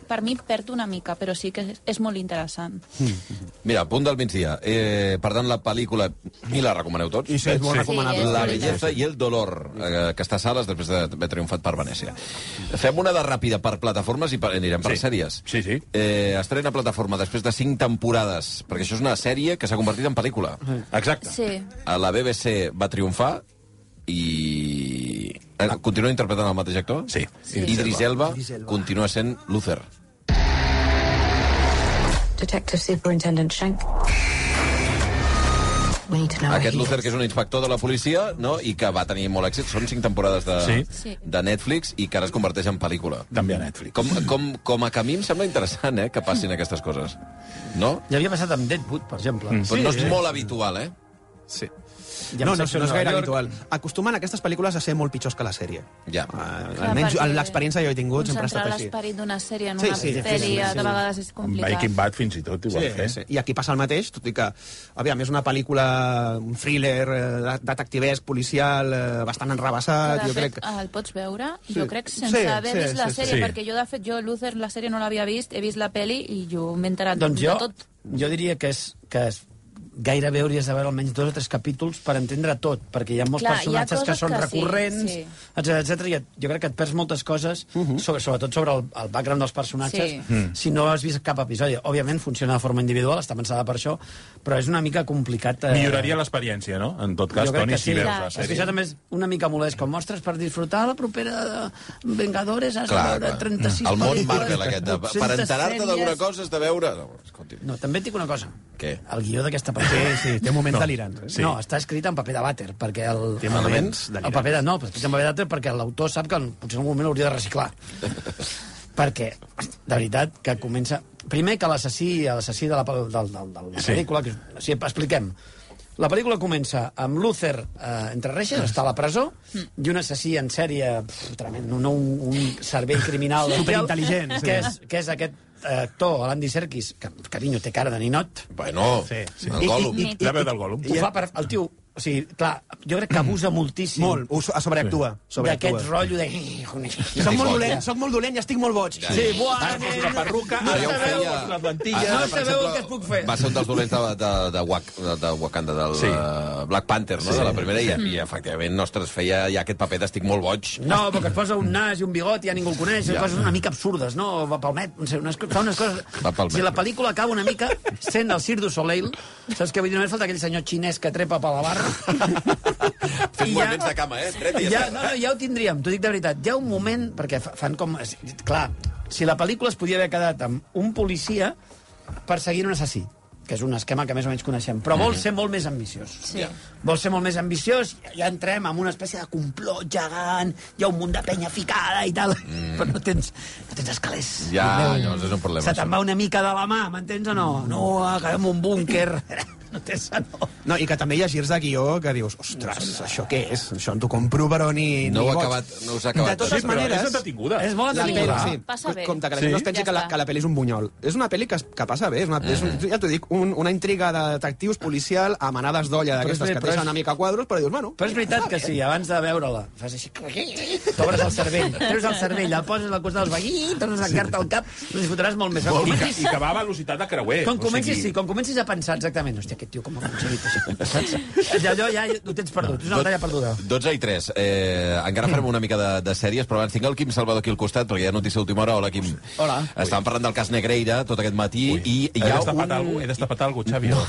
S8: per mi perd una mica, però sí que és- és molt interessant.
S3: Mira, punt del migdia. Eh, per tant, la pel·lícula, i la recomaneu tots,
S2: I sí, és molt
S8: Sí.
S2: recomanable.
S3: La
S8: Sí,
S3: belleza i el dolor, eh, que està a sales després d'haver triomfat per Venècia. Fem una de ràpida per plataformes i per, anirem per
S5: Sí.
S3: sèries.
S5: Sí, sí.
S3: Eh, estrena plataforma després de cinc temporades, perquè això és una sèrie que s'ha convertit en pel·lícula.
S5: Exacte.
S8: Sí.
S3: A la BBC va triomfar i... eh, Continua interpretant el mateix actor?
S5: Sí.
S8: Sí.
S3: Idris Elba, continua sent Luther.
S10: Detective Superintendent Schenk. We need to know
S3: Aquest
S10: where he
S3: Luther, que és un inspector de la policia, no? i que va tenir molt èxit, són cinc temporades de,
S5: Sí.
S8: Sí.
S3: de Netflix i que ara es converteix en pel·lícula.
S5: També a Netflix.
S3: Com, com, com a camí em sembla interessant, eh, que passin aquestes coses. No?
S6: Ja havia passat amb Deadwood, per exemple.
S5: Mm.
S3: Però no és molt habitual, eh?
S2: Sí.
S6: Ja
S1: no,
S6: va
S1: no,
S6: ser
S1: no és
S6: Nova
S1: gaire
S6: York.
S1: habitual. Acostumen aquestes pel·lícules a ser molt pitjors que la sèrie.
S3: Ja.
S1: Uh,
S8: Clar,
S1: almenys
S8: perquè
S1: l'experiència que jo he tingut sempre ha estat
S8: concentrar
S1: així.
S8: l'esperit d'una sèrie en
S1: Sí,
S8: una
S1: sí,
S8: sèrie
S1: difícil,
S8: de
S1: sí.
S8: vegades és
S5: Amb
S8: complicat.
S5: Breaking Bad fins i tot ho va fer.
S1: sí. I aquí passa el mateix, tot i que, aviam, és una pel·lícula, un thriller, eh, detectivesc, policial, eh, bastant
S8: Que,
S1: enrabassat,
S8: de
S1: jo crec...
S8: fet, el pots veure, jo crec, sense
S1: Sí,
S8: haver
S1: sí,
S8: vist la
S1: sí, sí.
S8: sèrie,
S5: Sí.
S8: perquè jo, de fet, jo, Luther, la sèrie no l'havia vist, he vist la peli i jo m'he enterat
S6: Doncs jo,
S8: de tot.
S6: jo diria que és, que és gairebé hauries de veure almenys dos o tres capítols per entendre tot, perquè hi ha molts
S8: Clar, hi ha
S6: personatges que
S8: coses
S6: són
S8: que sí,
S6: recurrents,
S8: sí.
S6: etc etc. i et- jo crec que et perds moltes coses, sobre, sobretot sobre el, el background dels personatges,
S8: Sí.
S6: si no has vist cap episodi. Òbviament funciona de forma individual, està pensada per això, però és una mica complicat... eh,
S5: Milloraria l'experiència, no? En tot cas,
S6: jo crec
S5: Toni,
S6: que sí.
S5: si veus la
S8: Clar.
S6: És que
S5: sèrie.
S6: això també és una mica molest. Com mostres per disfrutar la propera de Vengadores has
S3: Clar,
S6: de veure
S3: clar.
S6: 36
S3: El món
S6: pel·lícules,
S3: Marvel, aquest. De, per
S6: 800
S3: enterar-te d'alguna
S6: sèries.
S3: cosa has de veure... No, escolti.
S6: No, també et dic una cosa.
S3: Què?
S6: El guió d'aquesta pel·lícula... Sí, sí,
S1: Té moments no. delirants. Eh?
S5: Sí.
S6: Sí. No, està escrit en paper de vàter, perquè el...
S1: Té
S6: el,
S1: elements
S6: el,
S1: delirants.
S6: paper de, no, però escrit en paper de vàter perquè l'autor sap que en- potser en algun moment hauria de reciclar. perquè, de veritat, que comença... Primer que l'assassí, l'assassí de la, pel- del, del, del, de la
S5: Sí.
S6: pel·lícula... Que, o sigui, expliquem. La pel·lícula comença amb Luther eh, entre reixes, està a la presó, i un assassí en sèrie pf, tremend, no, un, un cervell criminal...
S1: Superintel·ligent, sí.
S6: Que és, que és aquest eh, actor, Andy Serkis, que, carinyo, té cara de ninot,
S3: Bueno, sí, sí. el Gollum.
S8: I- i-
S5: La veu del Gollum.
S6: ho fa Mm. per... El tio, o sigui, clar, jo crec que abusa moltíssim
S1: Molt, ho so- sobreactua. sobreactua.
S6: d'aquest rotllo de...
S1: Soc molt dolent, soc molt dolent i estic molt boig.
S3: Ja.
S6: Sí, Ah, buah,
S5: Fos
S6: nena.
S5: la perruca,
S6: No
S5: ara
S3: Ja ho
S5: ho
S6: sabeu,
S5: feia...
S3: feia-
S5: La plantilla...
S3: Ara,
S6: Ah, No
S3: per
S6: sabeu
S3: exemple,
S6: el que es puc fer.
S3: Va ser un dels dolents de, de, de, Wak, de Wakanda, del
S5: Sí.
S3: sí. Black Panther, no? Sí. de la primera, i, i efectivament, ostres, feia ja aquest paper d'estic molt boig.
S6: No, perquè es posa un nas i un bigot i ja ningú el coneix, ja. coses una mica absurdes, no? Va pel met, no sé, unes, co- fa unes coses...
S3: Va pel
S6: Si
S3: met.
S6: la pel·lícula acaba una mica sent el Cirque du Soleil, saps què vull dir? Només falta aquell senyor xinès que trepa per la barra.
S3: Fent
S6: I
S3: moviments de cama, eh? Dret i
S6: ja,
S3: esquerra.
S6: no, no, ja ho tindríem, t'ho dic de veritat. Hi ha un moment, perquè fa- fan com... és- Clar, si la pel·lícula es podia haver quedat amb un policia perseguint un assassí, que és un esquema que més o menys coneixem, però
S3: Mhm.
S6: vol ser molt més ambiciós.
S8: Sí. Ja.
S6: Vol ser molt més ambiciós, ja entrem en una espècie de complot gegant, hi ha un munt de penya ficada i tal, mm. però no tens, no tens escalers.
S3: Mhm. Ja,
S6: Déu meu.
S3: llavors és un problema,
S6: Se te'n
S3: això.
S6: va una mica de la mà, m'entens o no? No, acabem un búnquer. no té senyor.
S1: No, i que també hi ha girs de guió que dius, ostres, això què és? Això no t'ho compro, però ni...
S3: No
S1: ni
S3: ho ha
S1: boig.
S3: acabat, no us ha acabat.
S1: De totes
S5: Sí, però
S1: maneres...
S5: És entretinguda.
S6: És molt
S1: La peli,
S6: entretinguda.
S1: sí.
S8: Passa bé.
S1: Compte, que la gent
S5: Sí?
S1: no es pensi
S8: Ja
S1: que la,
S8: està.
S1: que la pel·li és un bunyol. És una pel·li que, que passa bé. És una, és un, ja t'ho dic, un, una intriga de detectius policial a manades d'olla d'aquestes
S6: bé,
S1: que
S6: però és-
S1: deixen una mica a quadros, però dius, bueno...
S6: Però és veritat que sí, abans de veure-la, fas així... T'obres el cervell, treus el cervell, el poses al costat del veí, tornes a carta al cap, ho disfrutaràs molt més.
S5: I que, I que va a velocitat de creuer.
S6: Quan comencis,
S5: o
S6: sí,
S5: sigui,
S6: quan comencis a pensar exactament, hòstia, aquest tio com ha aconseguit això, saps? I allò ja ho tens perdut, és una batalla perduda.
S3: 12 i 3. Eh, encara farem una mica de, de sèries, però abans tinc el Quim Salvador aquí al costat, perquè hi ha notícia d'última hora. Hola, Quim.
S6: Hola.
S3: Estàvem parlant del cas Negreira tot aquest matí Ui. i hi
S5: he
S3: ha
S5: destapat
S3: un...
S5: un... algú, he destapat algú, Xavi. No.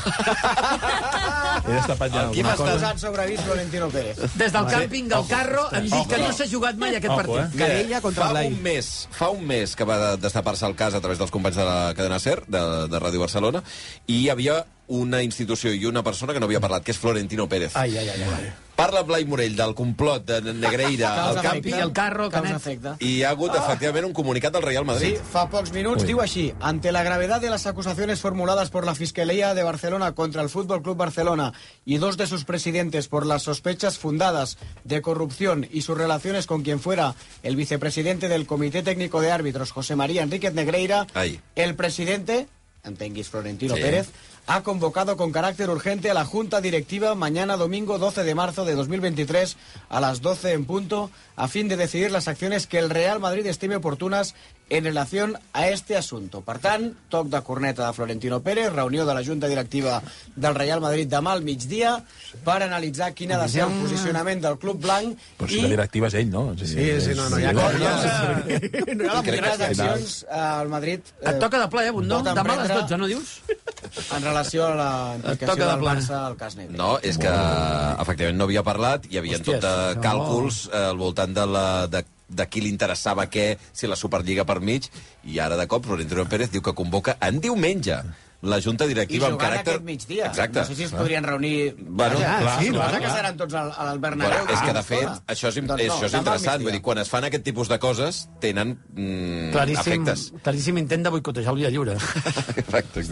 S5: he destapat ja
S3: Quim
S5: alguna
S3: està-
S5: cosa.
S4: sobrevist Florentino Pérez.
S6: Des del càmping del carro em dic que no s'ha jugat mai aquest
S5: Ojo,
S6: partit.
S1: Querella contra
S3: fa
S1: Blai.
S3: un mes, fa un mes que va destapar-se el cas a través dels companys de la cadena SER, de, de Ràdio Barcelona, i hi havia una institució i una persona que no havia parlat, que és Florentino Pérez.
S11: Eh,
S6: Ai, ai, ai, ai.
S3: Parla Blai Morell del complot de Negreira al camp
S11: i el carro, causa efecte.
S3: i hi ha hagut, efectivament, un comunicat del Real Madrid.
S11: Sí, fa pocs minuts
S3: Uy.
S11: diu així. Ante la gravedad de las acusaciones formuladas por la Fiscalía de Barcelona contra el Fútbol Club Barcelona y dos de sus presidentes por las sospechas fundadas de corrupción y sus relaciones con quien fuera el vicepresidente del Comité Técnico de Árbitros, José María Enríquez Negreira,
S3: Ahí.
S11: el presidente, entenguis Florentino
S3: Sí.
S11: Pérez, ha convocado con carácter urgente a la Junta Directiva mañana domingo 12 de marzo de 2023 a las 12 en punto a fin de decidir las acciones que el Real Madrid estime oportunes en relación a este asunto. Per tant, toc de corneta de Florentino Pérez, reunió de la Junta Directiva del Real Madrid demà al migdia per analitzar quin ha de ser el posicionament del Club Blanc
S5: Però si
S11: i
S5: la directiva és ell, no? Sí,
S2: sí, no, no, hi ha
S11: no hi ha les accions eh, al Madrid... Eh,
S12: Et toca de ple, eh, Bundó?
S11: pot
S12: Demà a les 12,
S11: emprendre
S12: no dius?
S11: En relació a la
S12: Et toca
S11: implicació
S12: de
S11: del
S12: ple.
S11: Barça al cas Negre.
S3: No, és que, efectivament, no havia parlat, hi havia tot de càlculs eh, al voltant de, la, de, de qui li interessava què, si la Superliga per mig, i ara, de cop, Florentino Pérez diu que convoca en diumenge la Junta
S11: I
S3: Directiva amb
S11: jugant
S3: caràcter...
S11: aquest migdia.
S3: Exacte. Ah.
S11: No sé si es podrien reunir...
S3: Bueno,
S11: Vaja,
S3: clar,
S11: sí,
S3: clar,
S11: clar, que
S3: clar.
S11: seran tots al, al Bernabéu.
S3: Bueno, és que, de fet,
S11: estona.
S3: això és,
S11: Ah, Doncs
S3: això
S11: no,
S3: és
S11: demà al
S3: interessant. Vull
S11: migdia.
S3: dir, quan es fan aquest tipus de coses, tenen mm,
S6: Claríssim,
S3: efectes.
S6: claríssim intent de boicotejar el Via Lliure.
S3: Exacte.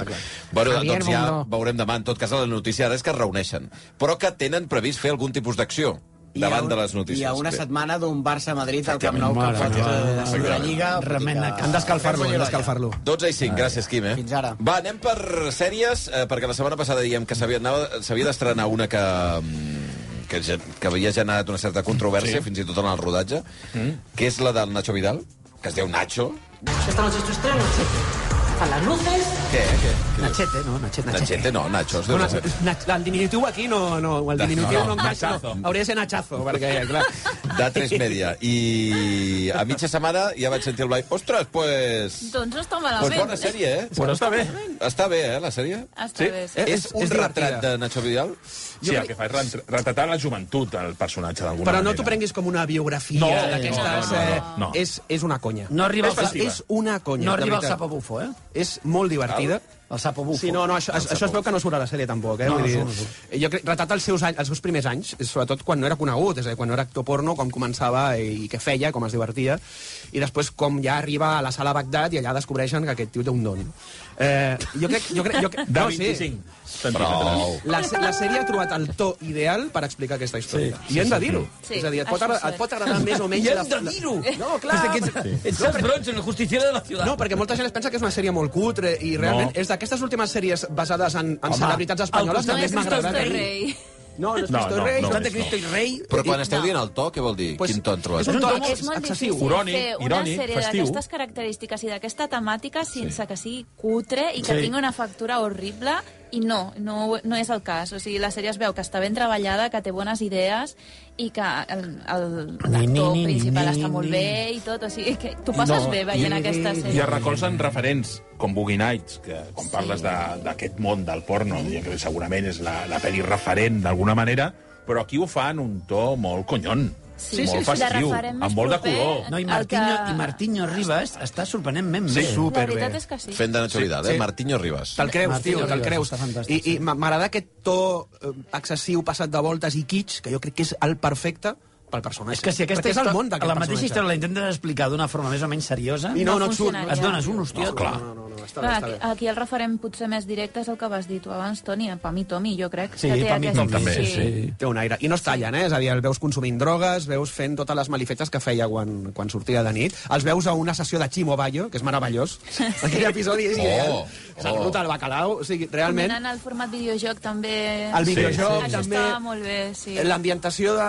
S3: Bueno,
S6: Javier
S3: doncs ja
S6: Bundó.
S3: veurem demà. En tot cas, la notícia ara és que es reuneixen, però que tenen previst fer algun tipus d'acció davant de les notícies.
S11: Hi ha una
S3: Bé.
S11: setmana d'un Barça-Madrid al Camp Nou que
S3: Mare
S11: fa
S3: meva.
S11: de la Segona Lliga.
S6: Remena
S11: vull dir que-
S1: Han d'escalfar-lo, han d'escalfar-lo.
S3: 12 i 5, gràcies, Quim. Eh? Fins
S11: ara.
S3: Va, anem per sèries, eh, perquè la setmana passada diem que s'havia anava- s'havia d'estrenar una que, mm, que, gen- que havia generat una certa controvèrsia, sí. fins i tot en el rodatge, mm. que és la del Nacho Vidal, que es diu Nacho.
S13: Esta noche es tu estreno, Nachete. A las luces.
S3: Què? què?
S13: Nachete, no, Nachete.
S3: Nachete, no, Nacho. Es diu
S13: Bueno,
S3: Nachete.
S13: Nach- el diminutiu aquí no... no el
S3: No,
S13: diminutiu
S3: no,
S13: no, encaja.
S3: machazo.
S13: No, hauria de ser Nachazo, perquè, clar...
S3: de 3 media. I a mitja setmana ja vaig sentir el Blai. Ostres, pues...
S8: Doncs no està
S3: Pues
S8: malament.
S3: bona sèrie, eh?
S5: Però està bé.
S3: Està bé, eh, la sèrie?
S8: Està bé,
S1: Eh,
S8: sí.
S3: És un retrat de Nacho Vidal?
S5: Sí, el que fa és ret- retratar la joventut, el personatge, d'alguna
S1: Però
S5: manera.
S1: no t'ho prenguis com una biografia
S5: No,
S1: d'aquestes...
S5: no, no, no,
S1: eh,
S5: no.
S1: És, és una conya.
S6: No arriba
S1: és,
S6: al
S1: festiva. és una conya,
S6: No
S1: de
S6: arriba al
S1: veritat.
S6: sapo bufo, eh?
S1: És molt divertida.
S6: El sapo bufo.
S1: Sí, no, no, això, això es veu que no surt a la sèrie tampoc, eh?
S6: No,
S1: Vull
S6: no
S1: dir,
S6: surt, no
S1: jo crec, retrata els seus, anys, els seus primers anys, eh, sobretot quan no era conegut, és a dir, quan no era actor porno, com començava i, i què feia, com es divertia, i després com ja arriba a la sala Bagdad i allà descobreixen que aquest tio té un don. Eh, jo crec... Jo crec, jo crec
S5: De
S1: no,
S5: 25
S1: Sí. La, se- la sèrie ha trobat el to ideal per explicar aquesta història. Sí, I hem de dir-ho.
S12: Sí,
S1: és a dir, et pot,
S12: això és
S1: agra-
S12: cert.
S1: et pot agradar més o menys...
S12: I hem
S1: la-
S12: de dir-ho!
S1: No, clar!
S12: És que ets- ets el bronze, el justiciero de la ciutat.
S1: No, perquè molta gent es pensa que és una sèrie molt cutre i realment
S12: No.
S1: és d'aquestes últimes sèries basades en, en celebritats espanyoles també m'ha agradat. a mi. No, no és
S3: No, no,
S1: Cristo no, Rey.
S3: no,
S1: No,
S3: no.
S1: de Cristo no. Rey.
S3: Però quan esteu dient el to, què vol dir?
S1: Pues,
S3: Quin to han trobat?
S1: és un to
S8: és, és molt
S1: excessiu.
S8: difícil
S1: Irònic,
S8: fer una
S1: irònic,
S8: sèrie
S1: festiu.
S8: d'aquestes característiques i d'aquesta temàtica sense sí. que sigui cutre i que
S1: Sí.
S8: sí. tingui una factura horrible i no, no, no és el cas. O sigui, la sèrie es veu que està ben treballada, que té bones idees i que el- el- l'actor principal està molt bé i tot. O sigui, que tu passes bé veient aquesta
S5: I
S8: sèrie.
S5: es recolzen referents com Boogie Nights, que quan parles de- d'aquest món del porno, diria que segurament és la, la pel·li referent d'alguna manera, però aquí ho fan un to molt conyon,
S6: Sí, sí,
S5: molt
S6: sí.
S5: festiu,
S6: La referent més
S5: amb molt de
S6: proper
S5: color.
S6: No, i Martinho, que... i Martinho Ribas està sorprenentment
S5: Sí,
S6: bé.
S5: superbé.
S8: La veritat és que sí.
S3: Fent de Nacho Vidal, eh? Martinho Ribas.
S1: Te'l creus,
S6: Martín
S1: tio, te'l
S6: Rivas,
S1: creus.
S6: està
S1: I, i m'a- m'agrada aquest to eh, excessiu, passat de voltes i kitsch, que jo crec que és el perfecte pel personatge.
S6: És que si aquesta
S1: Perquè és el
S6: histò-
S1: món d'aquest
S6: la mateixa
S1: personatge.
S6: història la intentes explicar d'una forma més o menys seriosa...
S1: I no, no et surt, no et
S6: Et
S1: surt.
S6: dones un hostió.
S1: No, clar. No, no, no, està bé,
S8: Clar,
S1: està
S8: aquí,
S1: bé.
S8: aquí el referent potser més directe és el que vas dir tu abans, Toni, a Pami Tomi, jo crec.
S1: Sí,
S8: que té
S1: per mi
S8: aquest-
S1: també, sí. sí. Té un aire. I no es tallen, eh? És a dir, el veus consumint drogues, veus fent totes les malifetes que feia quan, quan sortia de nit. Els veus a una sessió de Chimo Bayo, que és meravellós. Sí. Aquell episodi és
S8: Oh,
S1: ideal. Oh. S'ha ruta al bacalao. O sigui, realment,
S8: Combinant el format videojoc també...
S1: El videojoc,
S8: Això
S1: també.
S8: estava molt bé, sí.
S1: l'ambientació de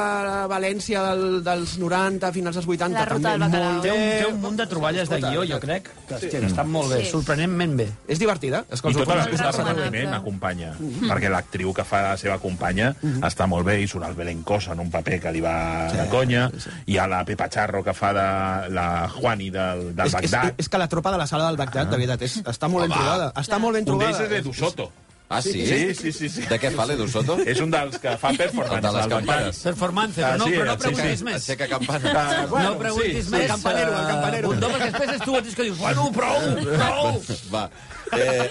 S1: València del, dels 90 finals dels 80
S8: La ruta
S1: també
S8: del bacalao.
S1: molt
S6: Té
S1: bé.
S6: un, té un munt de troballes de guió, jo crec, que, hòstia, que estan molt bé,
S1: Sí.
S6: sorprenentment bé.
S1: És divertida. És
S5: I tota la resta de repartiment acompanya, perquè l'actriu que fa la seva companya està molt bé, i surt el Belencosa en un paper que li va de conya, i a la Pepa Charro que fa de la Juani del, del
S1: és, és,
S5: Bagdad.
S1: és que la tropa de la sala del Bagdad, de veritat, és, està molt ben trobada. Està molt ben
S5: Ah. Un d'ells
S1: trobada.
S5: és Edu Soto.
S3: Ah, sí?
S5: Sí, sí, sí. sí.
S3: De què fa l'Edu Soto?
S5: És un dels que fa performance.
S3: El de les
S5: al Bagdad.
S3: campanes.
S6: Performance, però no,
S5: Ah, sí,
S6: però no
S5: sí,
S6: preguntis
S5: sí.
S6: més.
S3: Aixeca campanes.
S5: Ah, bueno,
S6: no preguntis
S5: sí,
S6: més.
S5: sí. El campanero, el
S6: eh,
S5: campanero.
S6: Bundó, perquè després és tu mateix que dius, bueno, prou, prou.
S3: Va. Eh,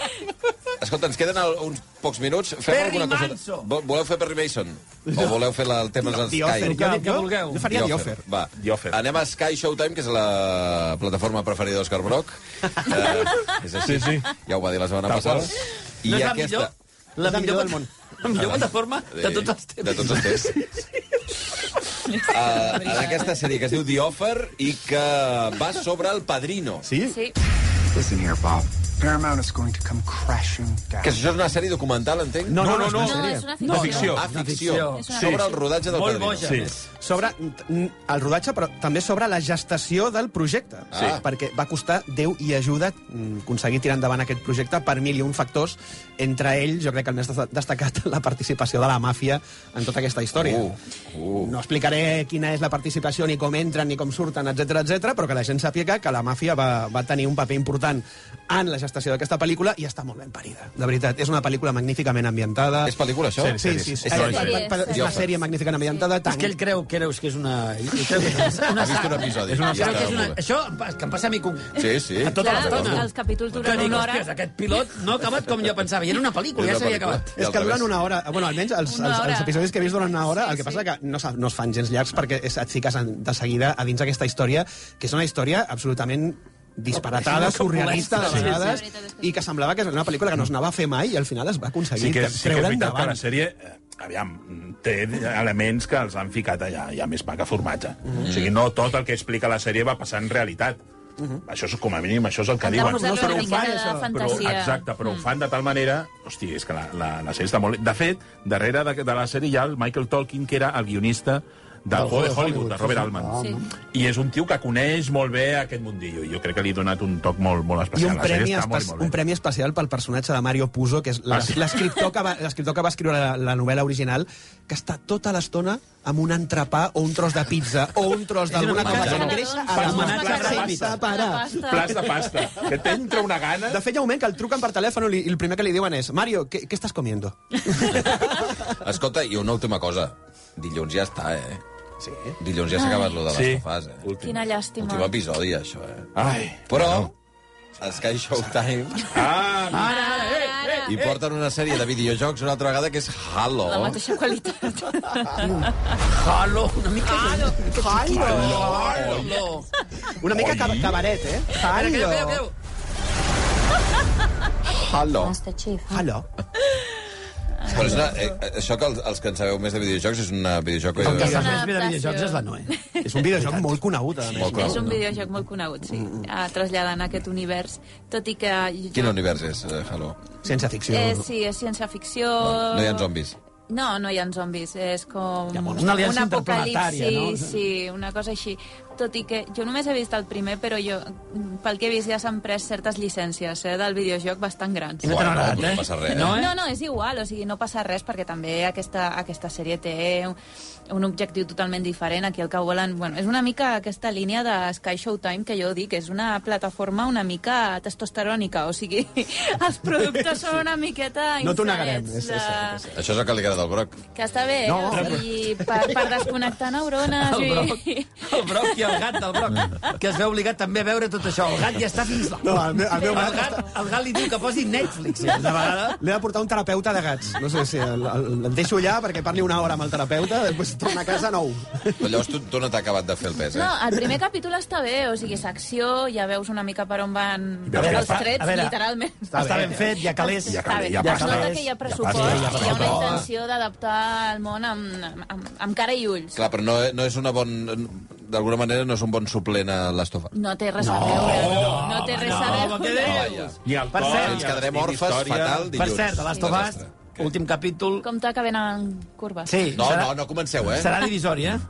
S3: Escolta, ens queden el, uns pocs minuts. Fem
S12: Perry
S3: alguna cosa...
S12: Manso.
S3: Vo- Voleu fer Perry Mason? O voleu fer la, el tema dels Sky?
S1: Jo faria The Offer.
S3: Va. Anem a Sky Showtime, que és la plataforma preferida d'Òscar Brock. Eh, és així. Sí, sí. Ja ho va dir la setmana
S12: Tal qual.
S3: passada.
S12: No és la millor? La
S3: És
S12: millor plata- la millor plataforma de tots els temps.
S3: De tots els temps. Uh, en aquesta sèrie que es diu The Offer i que va sobre el padrino. Sí?
S8: Sí.
S14: Listen here, Bob. Paramount is going to come crashing down.
S3: Que això és una sèrie documental, entenc?
S1: No, no, no, no, no, és una
S3: No, ficció. Ah, ficció. Sobre el rodatge del padrino.
S1: Sobre mm, el rodatge, però també sobre la gestació del projecte.
S3: Ah. Sí.
S1: Perquè va costar Déu i ajuda mm, aconseguir tirar endavant aquest projecte per mil i un factors. Entre ells, jo crec que el més desta- destacat, la participació de la màfia en tota aquesta història.
S3: Uh.
S1: No explicaré quina és la participació, ni com entren, ni com surten, etc etc, però que la gent sàpiga que la màfia va, va tenir un paper important en la gestació d'aquesta pel·lícula i està molt ben parida. De veritat, és una pel·lícula magníficament ambientada.
S3: És pel·lícula, això?
S1: Sí, sí, sí. sí.
S3: És sèrie,
S1: Ai, per- per- És
S3: sèrie.
S1: una sèrie magníficament ambientada.
S6: És que ell creu, creus que és una... Ell creu que és una,
S3: Ha vist un episodi.
S6: És una,
S3: Ja
S6: crec que
S3: està,
S6: és una,
S3: molt bé.
S6: això em pa- que em passa a mi... Com,
S3: Sí, sí.
S6: A tota
S8: Clar,
S6: l'estona.
S8: els capítols
S6: Que
S8: duren
S6: dic,
S8: una hora.
S6: hòsties, aquest pilot no ha acabat com jo pensava. I era una pel·lícula,
S1: Era
S6: ja
S1: una
S6: s'havia
S1: pel·lícula.
S6: acabat.
S1: És que duren una hora, bueno, almenys els,
S6: Una
S1: els,
S6: hora.
S1: els episodis que he vist duren una hora, el que passa que no, se- no es fan gens llargs perquè és, et fiques en, de seguida a dins aquesta història, que és una història absolutament disparatada,
S2: És una que
S1: surrealista de
S2: molesta, sí.
S1: vegades,
S2: Sí,
S1: i que semblava que era una pel·lícula que no es anava a fer mai i al final es va aconseguir
S5: Sí que, sí que és
S1: treure
S5: veritat que
S1: endavant.
S5: la sèrie, eh, aviam, té elements que els han ficat allà, hi ha més pa que formatge.
S1: Mhm.
S5: O sigui, no tot el que explica la sèrie va passar en realitat.
S3: Mhm.
S5: Això és, com a mínim, això és el que
S8: Han de
S5: diuen.
S8: posar-li una miqueta de
S5: però,
S8: fantasia.
S5: exacte, però
S8: Mm.
S5: ho fan de tal manera... Hosti, és que la, la, la sèrie està molt... De fet, darrere de, de la sèrie hi ha el Michael Tolkien, que era el guionista del Juego de Hollywood, de Robert Altman.
S8: Sí.
S5: I és un tio que coneix molt bé aquest mundillo. I jo crec que li he donat un toc molt, molt
S1: I
S5: especial.
S1: un
S5: La sèrie
S1: premi,
S5: està
S1: espe
S5: molt, molt bé.
S1: un premi especial pel personatge de Mario Puzo, que és la-
S5: Ah, sí.
S1: l'escriptor que, va- l'escriptor que va escriure la, la novel·la original, que està tota l'estona amb un entrepà o un tros de pizza o un tros d'alguna
S5: una
S1: cosa
S5: pasta,
S1: que
S5: no.
S1: creix a
S5: Pasta,
S1: la mà
S5: pasta,
S1: sense
S5: pasta.
S1: parar.
S5: Plats de pasta. Que t'entra una gana...
S1: De fet, hi ha un moment que el truquen per telèfon i el primer que li diuen és Mario, què, què estàs comiendo?
S3: Escolta, i una última cosa. Dilluns ja està, eh? Sí. Dilluns ja s'ha
S8: Ai.
S3: acabat lo de les
S5: Sí.
S3: sí. sofàs, eh?
S8: Quina llàstima.
S3: Últim episodi, això, eh?
S5: Ai,
S3: Però, a Sky Showtime...
S5: Ah,
S8: Ara, ara, eh, eh,
S3: I porten una sèrie de videojocs una altra vegada que és Halo.
S8: La mateixa qualitat.
S6: Halo, una mica... Halo,
S1: Halo. Una mica cab cabaret, eh?
S6: Creu, creu,
S1: Halo.
S6: creu.
S3: Halo.
S10: Master Chief.
S1: Halo.
S3: Però és una, eh, això que els, els que en sabeu més de videojocs és una videojoc...
S6: Com que
S3: eh,
S6: saps més bé de videojocs és la Noé.
S1: eh? És un videojoc molt conegut, a
S3: Molt
S8: és un
S3: clar.
S8: videojoc molt conegut, sí, ah, traslladant aquest univers, tot i que... jo-
S3: Quin univers és, eh, Halo?
S1: Ciència
S8: Eh, sí, és ciència-ficció...
S3: No hi ha zombis.
S8: No, no hi ha zombis, és com...
S6: monstres. Una aliança
S8: un apocalipsi,
S6: interplanetària, no?
S8: sí, una cosa així. Tot i que jo només he vist el primer, però jo, pel que he vist, ja s'han pres certes llicències eh, del videojoc bastant grans.
S6: I no t'han agradat,
S3: no
S6: eh?
S3: passa res, eh?
S6: No, eh?
S8: No, no, és igual, o sigui, no passa res perquè també aquesta, aquesta sèrie té un, un objectiu totalment diferent. Aquí el que volen... Bueno, és una mica aquesta línia de Sky Showtime que jo dic, és una plataforma una mica testosterònica, o sigui, els productes són una miqueta...
S1: No t'ho negarem,
S8: insets
S1: és- és cert,
S8: de-
S3: Això és el que li agrada al Broc.
S8: Que està bé,
S1: No,
S8: eh? O sigui, per, per desconnectar neurones
S6: El Broc.
S8: i...
S6: El Broc i el gat del Broc, que es veu obligat també a veure tot això. El gat ja està fins la...
S1: No, el meu- el meu gat
S6: gat, el gat li diu que posi Netflix. eh? Una vegada...
S1: L'he de portar un terapeuta de gats. No sé si el, el, el deixo allà perquè parli una hora amb el terapeuta, després torna a casa nou.
S3: Però llavors tu, tu no t'ha acabat de fer el pes, eh?
S8: No, el primer capítol està bé, o sigui, és acció, ja veus una mica per on van
S3: veus que
S8: els
S3: està-
S8: trets,
S6: a veure,
S8: literalment.
S6: Està, està ben fet, ja calés.
S5: Ja
S8: Està bé.
S5: ja
S8: es nota que hi ha pressupost
S3: pasta, ja
S8: i hi ha una
S3: pasta.
S8: intenció d'adaptar el món amb, amb, amb cara i ulls.
S3: Clar, però no, eh, no és una bon... D'alguna manera no és un bon suplent a l'estofa.
S8: No té res a veure. No, Oh! no té res a
S6: No,
S8: veure.
S6: què dius?
S5: Ni el
S6: Per
S5: Tom,
S6: cert,
S5: ni
S6: ens
S5: el
S3: quedarem
S5: Steve
S3: orfes
S5: Història.
S3: fatal
S6: Per
S3: dilluns.
S6: cert, de Last of Us, últim capítol...
S8: Compte que venen curves.
S6: Sí,
S3: No,
S6: serà,
S3: no, no comenceu, eh?
S6: serà divisori, eh?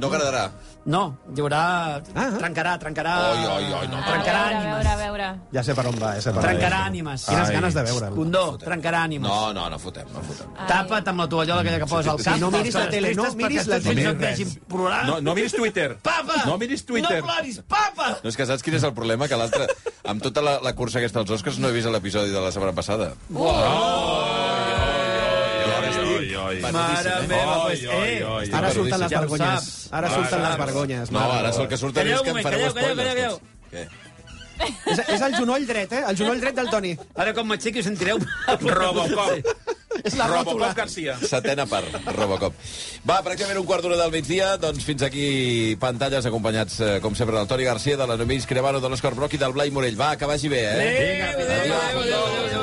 S3: No agradarà.
S6: No, hi haurà... Trencarà, trencarà...
S3: Ah, Oi, oi, oi, no.
S8: A veure,
S6: Trencarà
S8: a
S6: ànimes.
S8: veure, a veure.
S1: Ja sé per on va, ja sé per on va.
S6: Trencarà ànimes.
S1: Quines ganes de veure'l.
S6: Condó, trencarà ànimes.
S3: No, no, no fotem, no fotem.
S6: Tapa't amb la tovallola aquella que posa al
S1: Sí,
S6: cap.
S1: no miris la tele, no miris la
S6: tele. No et
S5: tele.
S6: vegin plorar.
S5: No, no miris Twitter.
S6: Papa!
S5: No miris Twitter.
S6: No ploris, papa!
S3: No, és que saps quin és el problema? Que l'altre... Amb tota la, la cursa aquesta dels Oscars no he vist l'episodi de la setmana passada.
S5: Oi, oi, oi.
S6: Mare meva, pues, eh,
S1: Ara surten les
S6: Ja ho
S1: vergonyes.
S6: saps.
S1: Ara surten les vergonyes.
S3: No,
S1: mare.
S3: ara és el que surten
S6: Calleu
S3: és
S6: un
S3: que em
S6: moment,
S3: fareu
S6: calleu, calleu,
S3: spoilers. doncs.
S6: calleu.
S3: Què?
S1: És, és el genoll dret, eh? El genoll dret del Toni.
S12: Ara com m'aixequi sentireu...
S5: Robocop.
S1: És la
S5: Robocop
S1: ròtula.
S5: Garcia.
S3: Setena part, Robocop. Va, pràcticament un quart d'hora del migdia, doncs fins aquí pantalles, acompanyats, eh, com sempre, del Toni Garcia, de la Nomís Cremano, de l'Òscar Broc i del Blai Morell. Va, que vagi bé, eh?
S12: Adéu, adéu, adéu, adéu, adéu.